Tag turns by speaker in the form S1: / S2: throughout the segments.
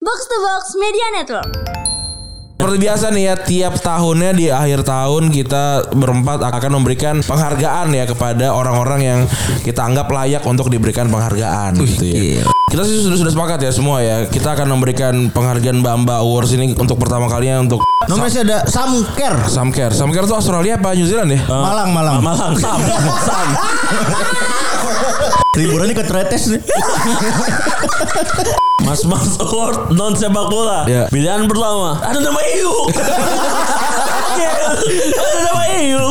S1: Box to Box Media Network.
S2: Seperti biasa nih ya tiap tahunnya di akhir tahun kita berempat akan memberikan penghargaan ya kepada orang-orang yang kita anggap layak untuk diberikan penghargaan gitu ya. Kita sih sudah sudah sepakat ya semua ya. Kita akan memberikan penghargaan Bamba Awards ini untuk pertama kalinya untuk
S3: Namanya saya ada Samker.
S2: Samcare. Samcare itu Australia apa New Zealand ya?
S3: Malang, Malang.
S4: Eh, Malang Sam Sam
S3: Liburannya ke Tretes nih.
S4: Mas Mas Award non sepak bola
S2: Iya.
S3: Ya.
S4: pilihan pertama ada nama Iu Iya. ada nama Iu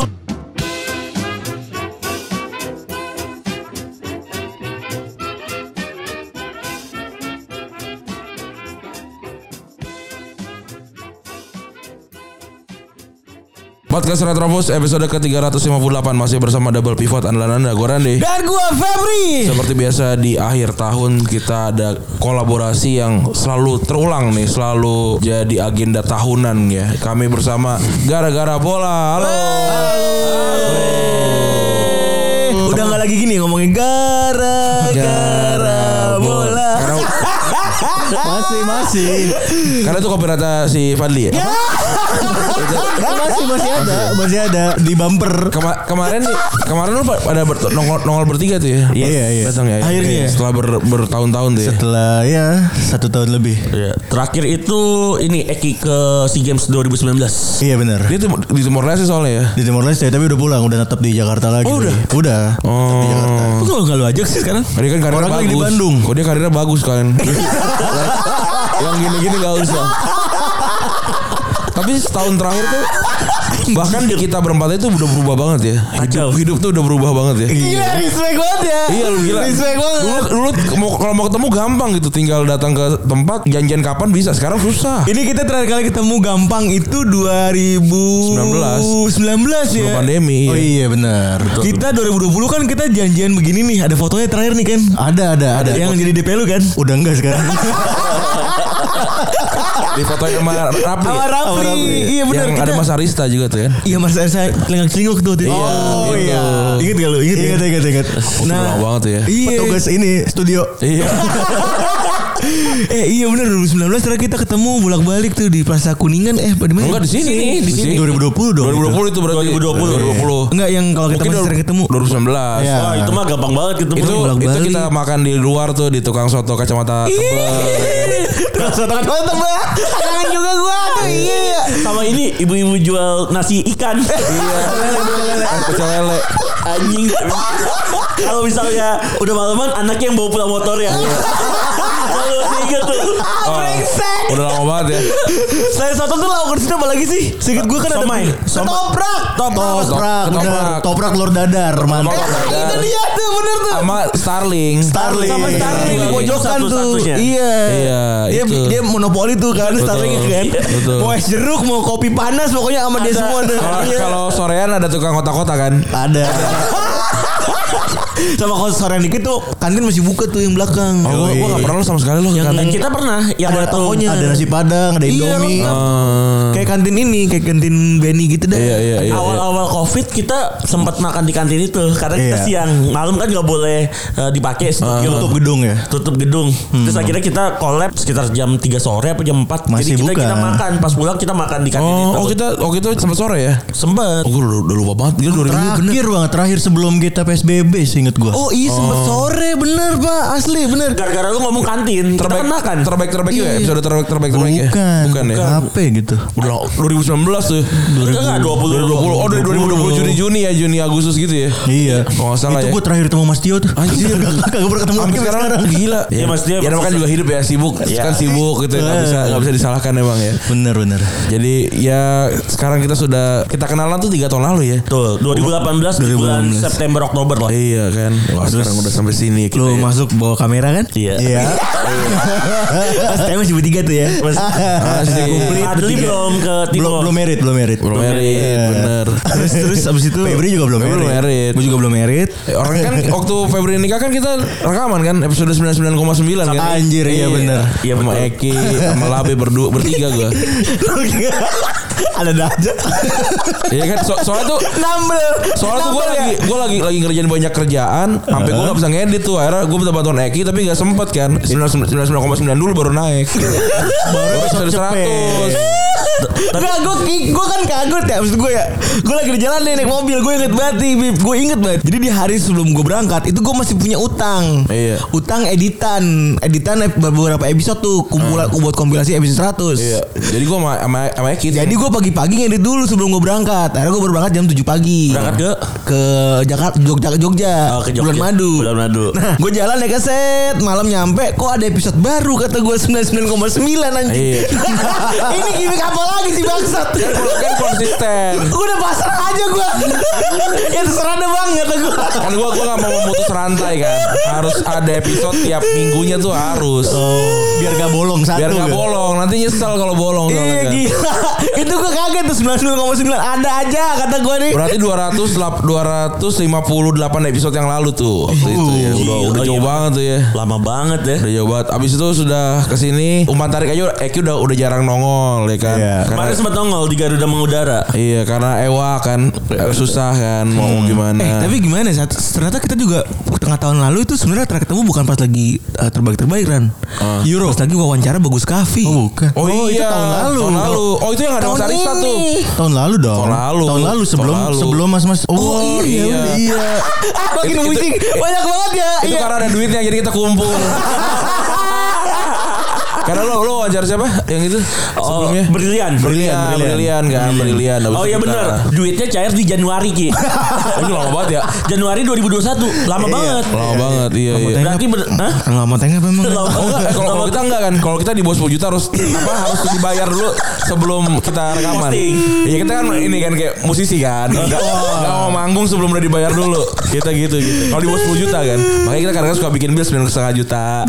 S2: Podcast Retropus episode ke-358 masih bersama Double Pivot andalan Anda gue Randy.
S4: dan gua Febri
S2: Seperti biasa di akhir tahun kita ada kolaborasi yang selalu terulang nih, selalu jadi agenda tahunan ya. Kami bersama gara-gara bola. Halo.
S4: udah nggak lagi gini ngomongin gara-gara bola
S2: Karena,
S3: Masih, masih.
S2: karena itu copyright si Fadli ya.
S3: masih, masih ada. Masih ada di bumper.
S2: Kema- kemarin nih- kemarin lu pa- pada ber- nongol, nongol bertiga tuh ya.
S3: Iya, iya, iya.
S2: Datang ya.
S3: Akhirnya ya.
S2: Setelah ber- bertahun-tahun tuh ya.
S3: Setelah ya satu tahun lebih.
S4: Ya, terakhir itu ini Eki ke SEA Games 2019.
S3: Iya benar.
S2: Dia tuh di Timor Leste soalnya ya.
S3: Di Timor Leste tapi udah pulang, udah tetap di Jakarta lagi.
S2: Oh, udah?
S3: Udah. Tetap di Jakarta.
S2: Oh.
S4: Kok enggak lu ajak sih sekarang?
S2: Dia kan karirnya
S3: Orang lagi
S2: bagus.
S3: di Bandung.
S2: Kok dia karirnya bagus kan. Yang gini-gini gak usah. Tapi setahun terakhir tuh bahkan di kita berempat itu udah berubah banget ya.
S4: Kacau.
S2: Hidup, hidup tuh udah berubah banget ya.
S3: Iya, respect banget ya.
S2: Iya lu gila. Dulu, dulu mau- kalau mau ketemu gampang gitu, tinggal datang ke tempat, janjian kapan bisa. Sekarang susah.
S3: Ini kita terakhir kali ketemu gampang itu 2019 19
S2: Sebelum
S3: ya.
S2: pandemi.
S3: Oh iya benar.
S5: Kita 2020 kan kita janjian begini nih, ada fotonya terakhir nih kan.
S3: Ada ada ada.
S5: Yang jadi DP lu kan.
S3: udah enggak sekarang.
S2: Di foto sama Rapli.
S5: Sama Rafli. Iya benar
S2: Yang ada
S5: kita.
S2: Mas Arista juga tuh kan.
S5: Iya Mas saya lengak celinguk tuh. Iya.
S2: gitu.
S5: Ingat gak lu? Ingat
S3: Ingat
S5: gak?
S3: ingat ingat.
S2: Nah,
S5: Nah,
S2: banget tuh ya.
S5: Iya.
S3: Petugas ini studio.
S2: Iya.
S5: Eh iya benar 2019 terakhir kita ketemu bolak-balik tuh di Plaza Kuningan eh di mana?
S2: Enggak di sini, di sini.
S3: 2020 dong.
S2: 2020 itu berarti 2020.
S4: 2020.
S5: Enggak yang kalau kita
S2: Mungkin
S5: masih sering ketemu.
S2: 2019.
S3: Iya.
S4: Wah, itu mah gampang banget ketemu.
S2: Itu
S5: bolak-balik.
S2: itu kita makan di luar tuh di tukang soto kacamata tebal.
S5: Terus tangan mantap Mbak.
S1: Kangen juga gua tuh. Iya.
S4: sama ini ibu-ibu jual nasi ikan.
S2: Iya. Eh, pecel lele.
S4: Anjing. Kalau misalnya udah malaman anaknya yang bawa pulang motor ya. Kalau masih ingat tuh.
S2: Oh, udah lama banget ya.
S5: Saya satu tuh lawan situ apa lagi sih? Singkat gue kan ada
S4: Somai.
S5: Ketoprak.
S3: Toprak,
S2: Ketoprak.
S3: bener. Toprak Lor Dadar, mantap.
S5: Itu dia tuh bener tuh.
S2: Sama Starling.
S3: Starling.
S5: Sama Starling di pojokan tuh.
S4: Satu-satunya.
S5: Iya.
S2: Iya,
S5: Dia,
S2: itu. Iya,
S5: dia monopoli tuh kan Starling kan.
S2: Betul.
S5: Mau es jeruk, mau kopi panas pokoknya sama dia semua tuh.
S2: Kalau
S5: Iya.
S2: kalau sorean ada tukang kota-kota kan.
S3: Ada.
S5: sama kalau sore dikit tuh kantin masih buka tuh yang belakang.
S2: Oh, gua, gua
S5: Iya.
S2: gak pernah lu sama sekali lu kan.
S4: Kita pernah yang
S5: ada
S4: waktu-
S5: tokonya.
S3: Ada nasi padang, ada Indomie.
S5: lengkap.
S2: Eh,
S5: Kayak kantin ini, kayak kantin Benny gitu dah.
S2: Iya iya iya. iya.
S4: Awal-awal covid kita sempat makan di kantin itu karena kita
S3: Iya.
S4: siang malam kan nggak boleh eh, dipakai sedikit.
S3: Tutup gedung ya.
S4: tutup gedung. Terus akhirnya kita collab sekitar jam 3 sore apa jam 4.
S3: Masih
S4: Jadi kita
S3: buka.
S4: kita makan pas pulang kita makan di kantin
S2: Oh,
S4: itu.
S2: oh kita oh kita sempat sore ya.
S4: Sempet.
S2: Oh, gua udah, udah lupa banget. Gila 2000
S3: Terakhir banget, terakhir sebelum kita PSBB seinget gua.
S5: Oh iya sempet sore bener pak asli bener.
S4: Gara-gara lu ngomong kantin,
S2: terbaik
S4: kita kan? makan.
S2: terbaik terbaik ya episode terbaik terbaik terbaik ya.
S3: bukan.
S2: Bukan ya.
S3: HP gitu.
S2: Udah 2019 tuh.
S4: Enggak, 20.
S2: 2020. Oh, dari 2020 Juni Juni ya, Juni Agustus gitu ya.
S3: Iya.
S2: Kalau nggak salah
S3: itu
S2: ya.
S3: gua terakhir ketemu Mas Tio tuh.
S2: Anjir.
S3: Kagak pernah ketemu lagi
S2: Sampai sekarang gila.
S4: Iya, Mas,
S2: ya
S4: dia maksud-
S2: namanya juga hidup ya sibuk,
S4: Iya.
S2: kan sibuk gitu nggak bisa nggak bisa disalahkan emang ya.
S3: Bener bener.
S2: Jadi ya sekarang kita sudah kita kenalan tuh tiga tahun lalu ya.
S4: Tuh, 2018 di bulan September Oktober lah.
S2: Iya kan. Wah, sekarang udah sampai sini kita. ya.
S5: Lu masuk bawa kamera kan?
S4: Iya.
S3: Iya.
S5: Pas saya masih bertiga tuh ya.
S4: Mas-
S2: Asik.
S4: Adli belum ke
S3: belum
S4: Timur.
S3: belum merit, belum merit.
S2: Belum married, bener.
S5: terus terus abis itu
S3: Febri juga belum
S2: Febri
S3: merit.
S2: belum merit.
S3: Gua juga belum merit.
S2: Eh, Orang kan waktu Februari nikah kan kita rekaman kan episode 99,9 kan.
S3: Anjir, iya bener.
S2: Iya sama Eki, sama Labe berdua bertiga gua.
S3: Ada dah aja.
S2: Iya kan so- soalnya tuh Soalnya tuh gue lagi gue lagi lagi ngerjain banyak kerjaan, sampai gue gak bisa ngedit tuh. Akhirnya gue minta bantuan Eki tapi gak sempet kan. 99,9 dulu baru naik. baru episode 100.
S5: Nggak, gue gue kan kaget ya maksud gue ya. Gue lagi di jalan nih naik mobil, gue inget banget nih, Bib. Gue inget banget. Jadi di hari sebelum gue berangkat itu gue masih punya utang.
S2: Iya.
S5: Utang editan, editan ep- beberapa episode tuh
S4: Ah.
S5: kumpulan buat kompilasi episode 100.
S2: Iya. Jadi gue sama sama, sama Eki.
S5: Jadi gue pagi-pagi ngedit dulu sebelum gue berangkat. Akhirnya gue baru berangkat jam 7 pagi.
S4: Berangkat ke?
S5: ke Jakarta Jogja Jogja.
S4: Oh, ke Jogja.
S5: Bulan Madu.
S4: Bulan Madu.
S5: Nah, gue jalan naik keset, malam nyampe kok ada episode baru kata gue 99,9 anjing.
S2: Iya.
S5: Ini gimmick apa lagi sih bangsat?
S4: Iya,
S2: kan konsisten.
S5: gue udah pasrah aja gue. ya terserah deh bang kata gue.
S2: Kan gue gue gak mau memutus rantai kan. Harus ada episode tiap minggunya tuh harus.
S3: Oh, Biar gak bolong satu.
S2: Biar gak
S3: kan?
S2: bolong, nanti nyesel kalau bolong soalnya
S5: Iya
S2: kan.
S5: gila. Itu gue kaget tuh 99,9 ada aja kata gue nih.
S2: Berarti 200 lap- 258 episode yang lalu tuh. Waktu itu ya. Udah,
S4: Gila,
S2: udah jauh
S4: gila.
S2: banget tuh ya.
S4: Lama banget ya.
S2: Udah jauh banget. Abis itu sudah kesini umpan tarik aja Eki udah udah jarang nongol ya kan.
S3: Iya.
S2: Karena,
S4: Kemarin sempat nongol di Garuda Mengudara.
S2: iya karena Ewa kan eh, susah kan mau gimana.
S5: Eh tapi gimana saat ternyata kita juga tengah tahun lalu itu sebenarnya terakhir ketemu bukan pas lagi eh, terbaik-terbaik kan. Euro. Pas lagi wawancara bagus Kavi. Oh bukan.
S2: Ah. Oh, iya, tahun lalu. Oh itu yang ada Mas Arista tuh.
S3: Tahun lalu dong.
S2: Tahun lalu.
S3: Tahun lalu sebelum
S2: Tahun lalu.
S3: sebelum Mas Mas.
S2: Oh, iya.
S3: udah, iya.
S5: Ah, makin
S2: Itu- itu-
S5: pusing. Banyak banget ya.
S2: Itu
S5: Iya.
S2: karena ada duitnya jadi kita kumpul. karena lo lo wajar siapa yang itu
S4: Oh,
S2: sebelumnya?
S4: brilian.
S2: Brilian, brilian, kan, brilian. Abis
S4: Oh
S2: itu
S4: iya
S2: kita-
S4: benar. Duitnya cair di Januari Ki.
S2: Itu lama banget ya.
S4: Januari 2021. Lama banget.
S2: Lama banget, iya iya.
S4: Berarti ber Hah?
S5: Kalau mau tanya apa emang?
S2: Oh,
S4: Lama
S2: enggak,
S4: banget.
S2: eh, kalau kalau kita enggak kan. Kalau kita di bawah 10 juta harus apa harus dibayar dulu sebelum kita rekaman.
S4: Posting.
S2: Iya, kita kan ini kan kayak musisi kan. Enggak enggak mau manggung sebelum udah dibayar dulu. Kita gitu gitu. Kalau di bawah 10 juta kan. Makanya kita kadang-kadang suka bikin bill 9,5 juta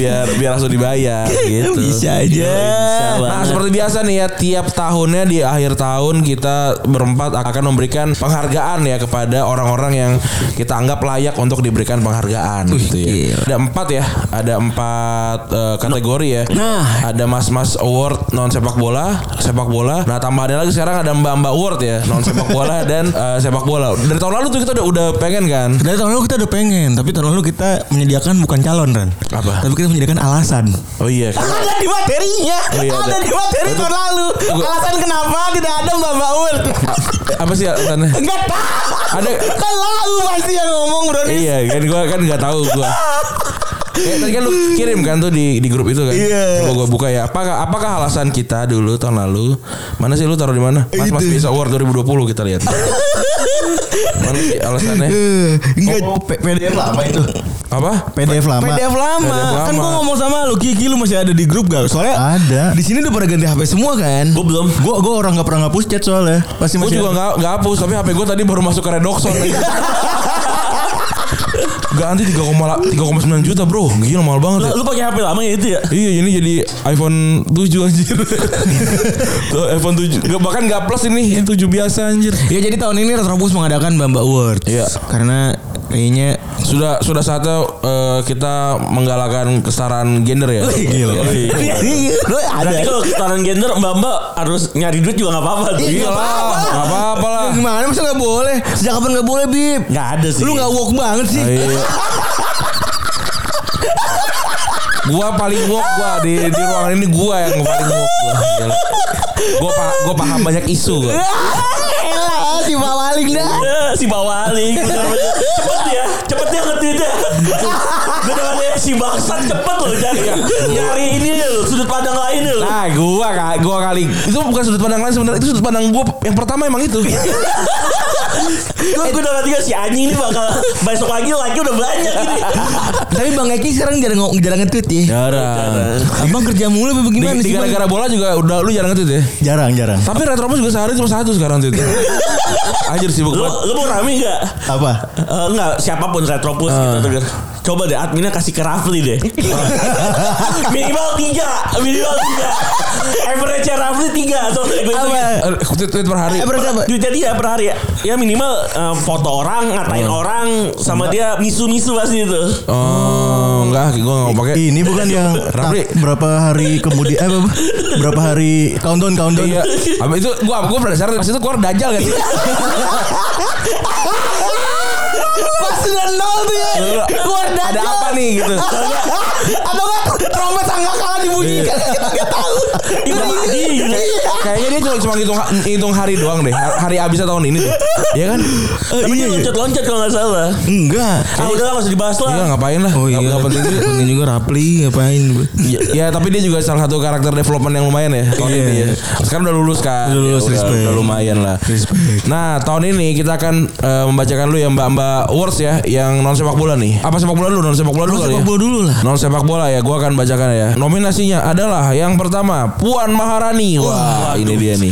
S2: biar biar langsung dibayar gitu.
S5: Bisa aja.
S4: Bisa
S2: Nah
S4: banget.
S2: seperti biasa nih ya tiap tahunnya di akhir tahun kita berempat akan memberikan penghargaan ya kepada orang-orang yang kita anggap layak untuk diberikan penghargaan gitu ya. Ada empat ya, ada empat eh, kategori ya.
S5: Nah.
S2: ada mas-mas award non sepak bola, sepak bola. Nah tambah ada lagi sekarang ada mbak-mbak award ya non sepak bola dan eh, sepak bola. Dari tahun lalu tuh kita udah udah pengen kan.
S5: Dari tahun lalu kita udah pengen, tapi tahun lalu kita menyediakan bukan calon Ren.
S2: Apa?
S5: Tapi kita menyediakan alasan.
S2: Oh iya. kan.
S5: Ada di materinya,
S2: Oh, iya, ada.
S5: ada di materi tahun lalu. Alasan kenapa tidak ada Mbak Baul?
S2: Apa sih alasannya?
S5: Enggak tahu.
S2: Ada
S5: Kan lalu pasti yang ngomong bro.
S2: Iya kan gua kan nggak tahu gua. Kayak tadi kan lu kirim kan tuh di di grup itu kan.
S5: Iya.
S2: Coba gua buka ya. Apakah apakah alasan kita dulu tahun lalu? Mana sih lu taruh di mana? Mas Mas Bisa Award 2020 kita lihat. mana sih alasannya?
S3: Enggak
S5: Oh,
S3: PDF lama itu.
S2: Apa?
S3: PDF lama.
S5: PDF lama.
S2: PDF
S5: Kan
S2: lama.
S5: gua ngomong sama lu, Kiki lu masih ada di grup gak? Soalnya
S3: Ada.
S5: Di sini udah pada ganti HP semua kan?
S4: Gue belum.
S3: Gua gua orang nggak pernah ngapus chat soalnya. Pasti
S2: Gua
S5: Oh,
S3: masih
S2: juga nggak nggak hapus tapi HP gua tadi baru masuk ke Redoxon. Ganti 3,9 3,9 juta bro Gila mahal banget ya
S4: Lu, lu pakai HP lama ya itu ya?
S2: Iya ini jadi iPhone 7 anjir Tuh, iPhone 7 Nggak, Bahkan gak plus ini 7 biasa anjir
S5: Ya jadi tahun ini Retrobus mengadakan Bamba Awards.
S2: Iya.
S5: Karena kayaknya
S2: sudah sudah saatnya eh, kita menggalakkan kesetaraan gender ya.
S5: gila.
S2: Wih.
S5: Iya, Lu ada.
S4: Berarti kalau kesetaraan gender mbak-mbak harus nyari duit juga gak apa-apa tuh.
S2: Iya lah, nggak apa-apa lah.
S5: Gimana masa gak boleh? Sejak kapan gak boleh, Bib?
S4: Gak ada sih.
S5: Lu gak woke banget sih.
S2: Iya. gua paling woke gua di di ruangan ini gua yang paling woke gua. Gila. Gua pa- gua paham banyak isu gua.
S5: Elah, si Pak Waling dah.
S4: Eh, si Bawali bener-bener. cepet ya cepet ya ngetweet ya bener-bener si bangsat cepet loh cari nyari ini loh, sudut pandang lain loh
S2: Nah, gua ka- gua kali itu bukan sudut pandang lain sebenarnya itu sudut pandang gua yang pertama emang itu.
S4: gue gue udah tiga si anjing ini bakal besok lagi lagi udah banyak ini
S2: Iya.
S5: Tapi Bang Eki sekarang jarang ngomong, jarang nge-tweet ya.
S2: Jarang.
S5: Abang kerja mulu apa
S2: Di,
S5: gimana
S2: Iya. di
S5: sih? Bang?
S2: gara-gara bola juga udah lu jarang ngetweet ya.
S3: jarang jarang.
S2: Tapi Retrobus juga sehari cuma satu sekarang tuh. Anjir sibuk
S4: lu
S2: banget.
S4: lu mau rame gak
S3: Apa?
S4: Eh, enggak siapapun retropus gitu tuh Ger. Coba deh adminnya kasih ke Rafli deh. minimal tiga, minimal tiga. Average Rafli tiga soalnya gue
S6: Apa? ya?
S2: tweet, tweet per hari.
S6: Eh, berarti apa?
S4: Duitnya dia per hari ya. Ya minimal eh, foto orang, ngatain orang, sama dia misu-misu pasti itu.
S2: Oh, enggak, gue nggak mau pakai.
S6: Iya.
S3: Ini bukan yang
S2: Rafli.
S3: tak- berapa hari kemudian eh apa- berapa hari countdown countdown.
S2: Iya. Abis itu gua gua penasaran pas itu keluar dajal kan sih?
S6: Pas sudah nol tuh ya. Keluar
S2: Iya, Ada
S6: dajal.
S2: apa nih gitu.
S6: Atau enggak trompet angka kalah
S2: Iya.
S6: kan? dibunyikan. Kita enggak tahu.
S4: Itu mati.
S2: Kayaknya dia cuma, cuma hitung hitung hari doang deh. Har- Hari abisnya tahun ini tuh. Iya kan?
S4: Tapi dia loncat-loncat kalau nggak salah.
S6: Enggak.
S4: Ah udah lah nggak usah dibahas lah.
S2: Iya ngapain lah.
S6: Oh iya,
S2: Nggak- nggak penting.
S6: penting juga Rapli ngapain? bro?
S2: Ya, ya, tapi dia juga salah satu karakter development yang lumayan ya tahun
S6: Iya.
S2: ini ya. Sekarang udah lulus kan.
S6: Udah lulus,
S2: Ya, udah,
S6: respect.
S2: udah lumayan lah.
S6: Respect.
S2: Nah, tahun ini kita akan eh, membacakan lu ya Mbak-mbak awards ya yang non sepak bola nih. Apa sepak bola lu? Non sepak bola lu kali
S6: Sepak
S2: ya?
S6: bola dulu lah.
S2: Non sepak bola ya, gua akan bacakan ya. Nominasinya adalah yang pertama Puan Maharani. Wah, ini dia nih.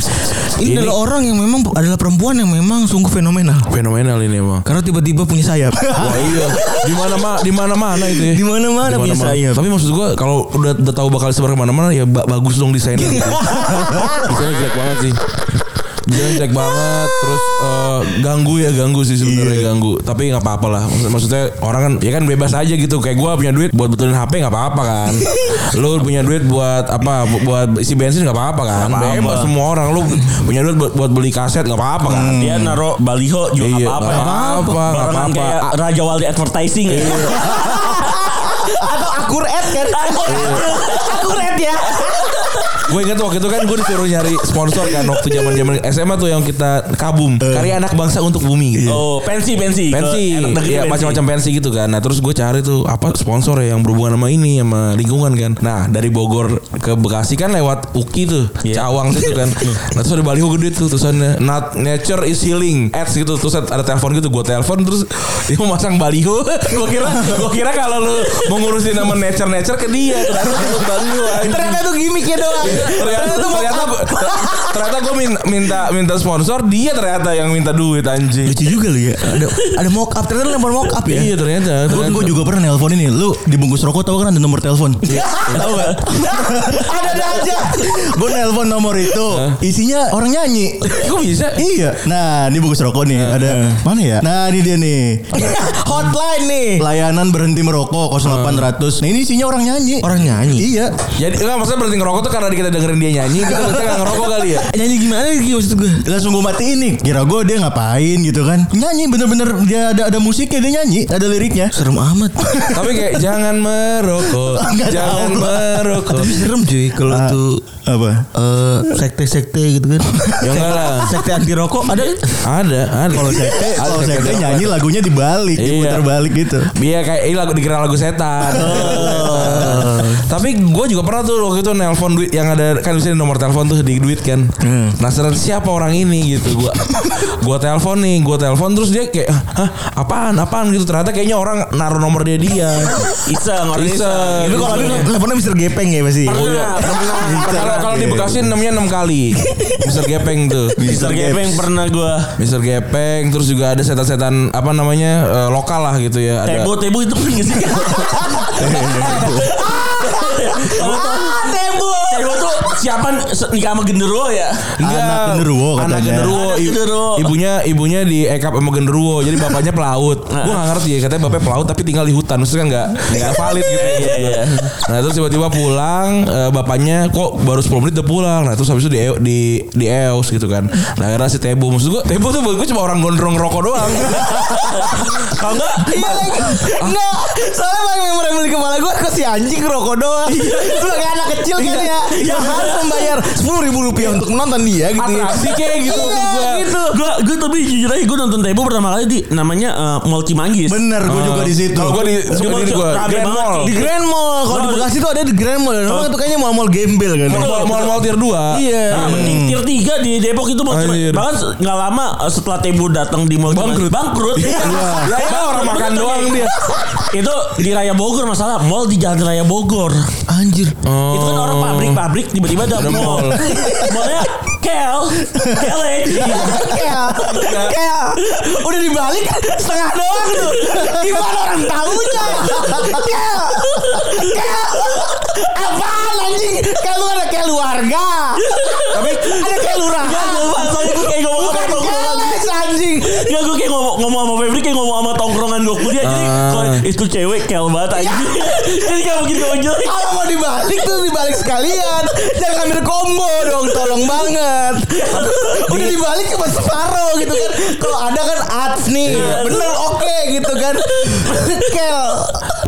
S6: Ini, adalah orang yang memang adalah perempuan yang memang sungguh fenomenal.
S2: fenomenal ini emang.
S6: Karena tiba-tiba punya sayap.
S2: Wah, iya. Di mana ma di mana mana itu ya.
S6: Di iya. mana-mana punya
S2: Mana-mana.
S6: sayap.
S2: Tapi maksud gua kalau udah udah tahu bakal sebar kemana mana ya ba- bagus dong desainnya. gitu. Desainnya jelek banget sih. Desainnya jelek banget terus eh, ganggu ya ganggu sih sebenarnya ganggu. Tapi nggak apa-apa lah. Maksud- maksudnya orang kan ya kan bebas aja gitu. Kayak gua punya duit buat betulin HP nggak apa-apa kan. Lu punya duit buat apa? bu- Buat isi bensin nggak apa-apa kan.
S4: apa-apa.
S2: Bebas semua orang lu punya duit buat, buat beli kaset nggak apa-apa kan.
S4: Dia naro baliho juga
S2: Iya,
S4: apa-apa.
S2: nggak apa-apa, nggak
S4: Barengan
S2: apa-apa.
S4: kayak Raja Wali Advertising.
S6: Atau akurat kan? akurat ya.
S2: Gue inget waktu itu kan gue disuruh nyari sponsor kan waktu zaman zaman SMA tuh yang kita kabum karya anak bangsa untuk bumi. gitu.
S4: Oh, pensi pensi.
S2: Pensi,
S4: Ke- negeri
S2: ya
S4: pensi.
S2: macam-macam pensi gitu kan. Nah terus gue cari tuh apa sponsor ya yang berhubungan sama ini sama lingkungan kan. Nah dari Bogor ke Bekasi kan lewat Uki tuh, Cawang situ kan. Nah terus ada baliho gede tuh tulisannya Not Nature is Healing ads gitu. Terus ada telepon gitu, gue telepon terus dia mau masang baliho. gue kira gue kira kalau lu mengurusin nama nature nature ke dia, ternyata lu baliho. anjing
S6: Ternyata itu gimmicknya doang.
S2: ternyata ternyata ternyata gue minta, minta minta sponsor dia ternyata yang minta duit anjing
S3: Lucu juga lu ya.
S6: Ada ada mock up. Ternyata lempar mock up ya.
S2: iya ternyata,
S3: Gue
S2: ternyata.
S3: juga pernah nelpon ini. Lu dibungkus rokok tau kan ada nomor telepon. Iya.
S6: Tahu gak? Ada-ada Iya. aja.
S3: gue nelpon nomor itu. Isinya orang nyanyi.
S2: kok bisa
S3: Iya. Nah, ini bungkus rokok nih. Ada mana ya? Nah, ini dia nih.
S6: Hotline nih.
S3: Layanan berhenti merokok 0800. Nah, ini isinya orang nyanyi.
S6: Orang nyanyi.
S3: Iya.
S2: jadi enggak Ya, maksudnya berhenti ngerokok tuh karena kita dengerin dia nyanyi kita berarti nggak ngerokok kali ya
S6: Nyanyi gimana gitu maksud gue?
S3: Langsung gue matiin nih. Kira gue dia ngapain gitu kan? Nyanyi bener-bener dia ada ada musiknya dia nyanyi, ada liriknya.
S6: Serem amat.
S2: tapi kayak jangan merokok
S3: Nggak
S2: jangan
S3: tahu gua.
S2: merokok
S6: Tapi serem cuy kalau
S3: Ah,
S6: tuh
S3: apa?
S6: eh, sekte-sekte gitu kan.
S2: ya enggak lah
S6: Sekte anti rokok ada kan?
S2: ada ada
S3: Kalau sekte,
S2: Ada
S3: kalau sekte
S2: ada.
S3: nyanyi lagunya dibalik,
S2: Iya.
S3: diputar balik gitu.
S2: Iya kayak ini lagu dikira lagu setan.
S3: Oh.
S2: Tapi gue juga pernah tuh waktu itu nelpon duit yang ada kan biasanya nomor telepon tuh di duit kan.
S3: Hmm.
S2: Penasaran siapa orang ini gitu gua. Gua telepon nih, gua telepon terus dia kayak hah apaan apaan gitu ternyata kayaknya orang naruh nomor dia dia. gitu kan.
S4: Iseng orang
S2: Iseng.
S4: iseng.
S2: Itu kalau
S4: Iseng.
S2: dia-
S6: Teleponnya Mister Gepeng ya pasti.
S4: Oh, iya. Pernah.
S2: Kalau kalau di Bekasi namanya 6 kali. Mister Gepeng tuh.
S4: Mister Gepeng pernah gua.
S2: Mister Gepeng terus juga ada setan-setan apa namanya eh, lokal lah gitu ya ada.
S4: Tebo tebo itu kan nggak sih?
S6: Ah, tembok.
S4: Tebo tuh siapa se- nikah sama genderuwo ya?
S2: Enggak.
S3: Anak genderuwo katanya.
S2: Iya. Anak genderuwo.
S4: Anak
S2: i-
S4: genderuwo.
S2: Ibunya ibunya di ekap sama genderuwo. Jadi bapaknya pelaut. Gua gak ngerti ya katanya bapaknya pelaut tapi tinggal di hutan. Maksudnya kan enggak enggak valid gitu.
S4: Nah. Iya iya.
S2: Nah terus tiba-tiba pulang eh, bapaknya kok baru 10 menit udah pulang. Nah terus habis itu di e- di di EOS gitu kan. Nah akhirnya si Tebo maksud gua Tebo tuh buat gua cuma orang gondrong rokok doang.
S4: Kalau enggak
S6: Iya lagi. Enggak. Soalnya paling memorable di kepala gue ke si anjing rokok doang. Sebagai anak kecil kan ya. Yang harus membayar 10 ribu rupiah untuk menonton dia gitu.
S2: Atraksi kayak gitu maksud
S6: Iya,
S2: gua.
S6: gitu.
S4: eh, gua gua tapi jujur aja gua nonton Tebo pertama kali di namanya eh, Mall Cimanggis.
S3: Bener, gue juga di situ.
S2: Oh. Kalau gua di
S4: Di Mall
S2: di gua
S4: Rame
S2: Grand
S4: banget.
S2: Mall.
S6: Di Grand Mall. Kalau di Bekasi tuh ada di Grand Mall. ya. Namanya tuh kayaknya mall-mall gembel
S3: ya.
S6: kan.
S2: Mall mall mall tier 2.
S6: Iya.
S4: Nah, di tier 3 di Depok itu Mall
S2: Hmm. Anjir.
S4: Cimanggis. Bahkan se- nggak lama eh, setelah Tebo datang di Mall Cimanggis.
S2: Bangkrut.
S4: Bangkrut.
S2: Ya,
S4: Bangkrut.
S2: emang orang makan
S4: Bener,
S2: doang
S4: tapi-
S2: dia.
S4: Itu di Raya Bogor masalah mall di Jalan Raya Bogor.
S6: Anjir.
S2: Oh.
S4: Itu kan orang pabrik-pabrik tiba-tiba ada mall. Mallnya kayak Kel. Kel ya.
S2: Iya.
S5: Kel, Kel, udah dibalik setengah doang tuh. Gimana orang tahunya? Kel, Kel, apaan anjing? Kalau ada keluarga, tapi ada kelurah.
S4: Soalnya gue kayak ngomong sama
S5: Bukan
S4: tongkrongan.
S5: keles anjing.
S4: Enggak gue kayak ngomong, ngomong sama Febri kayak ngomong sama tongkrongan gue kuliah. Jadi
S2: Ah. Iya.
S4: kalau itu cewek Kel banget anjing. Jadi kayak mungkin gue jelek.
S5: Kalau mau dibalik tuh dibalik sekalian. Jangan ambil combo dong, tolong banget. Udah dibalik cuma separuh gitu kan. Kalau ada kan ads nih. Bener oke gitu kan. Kel.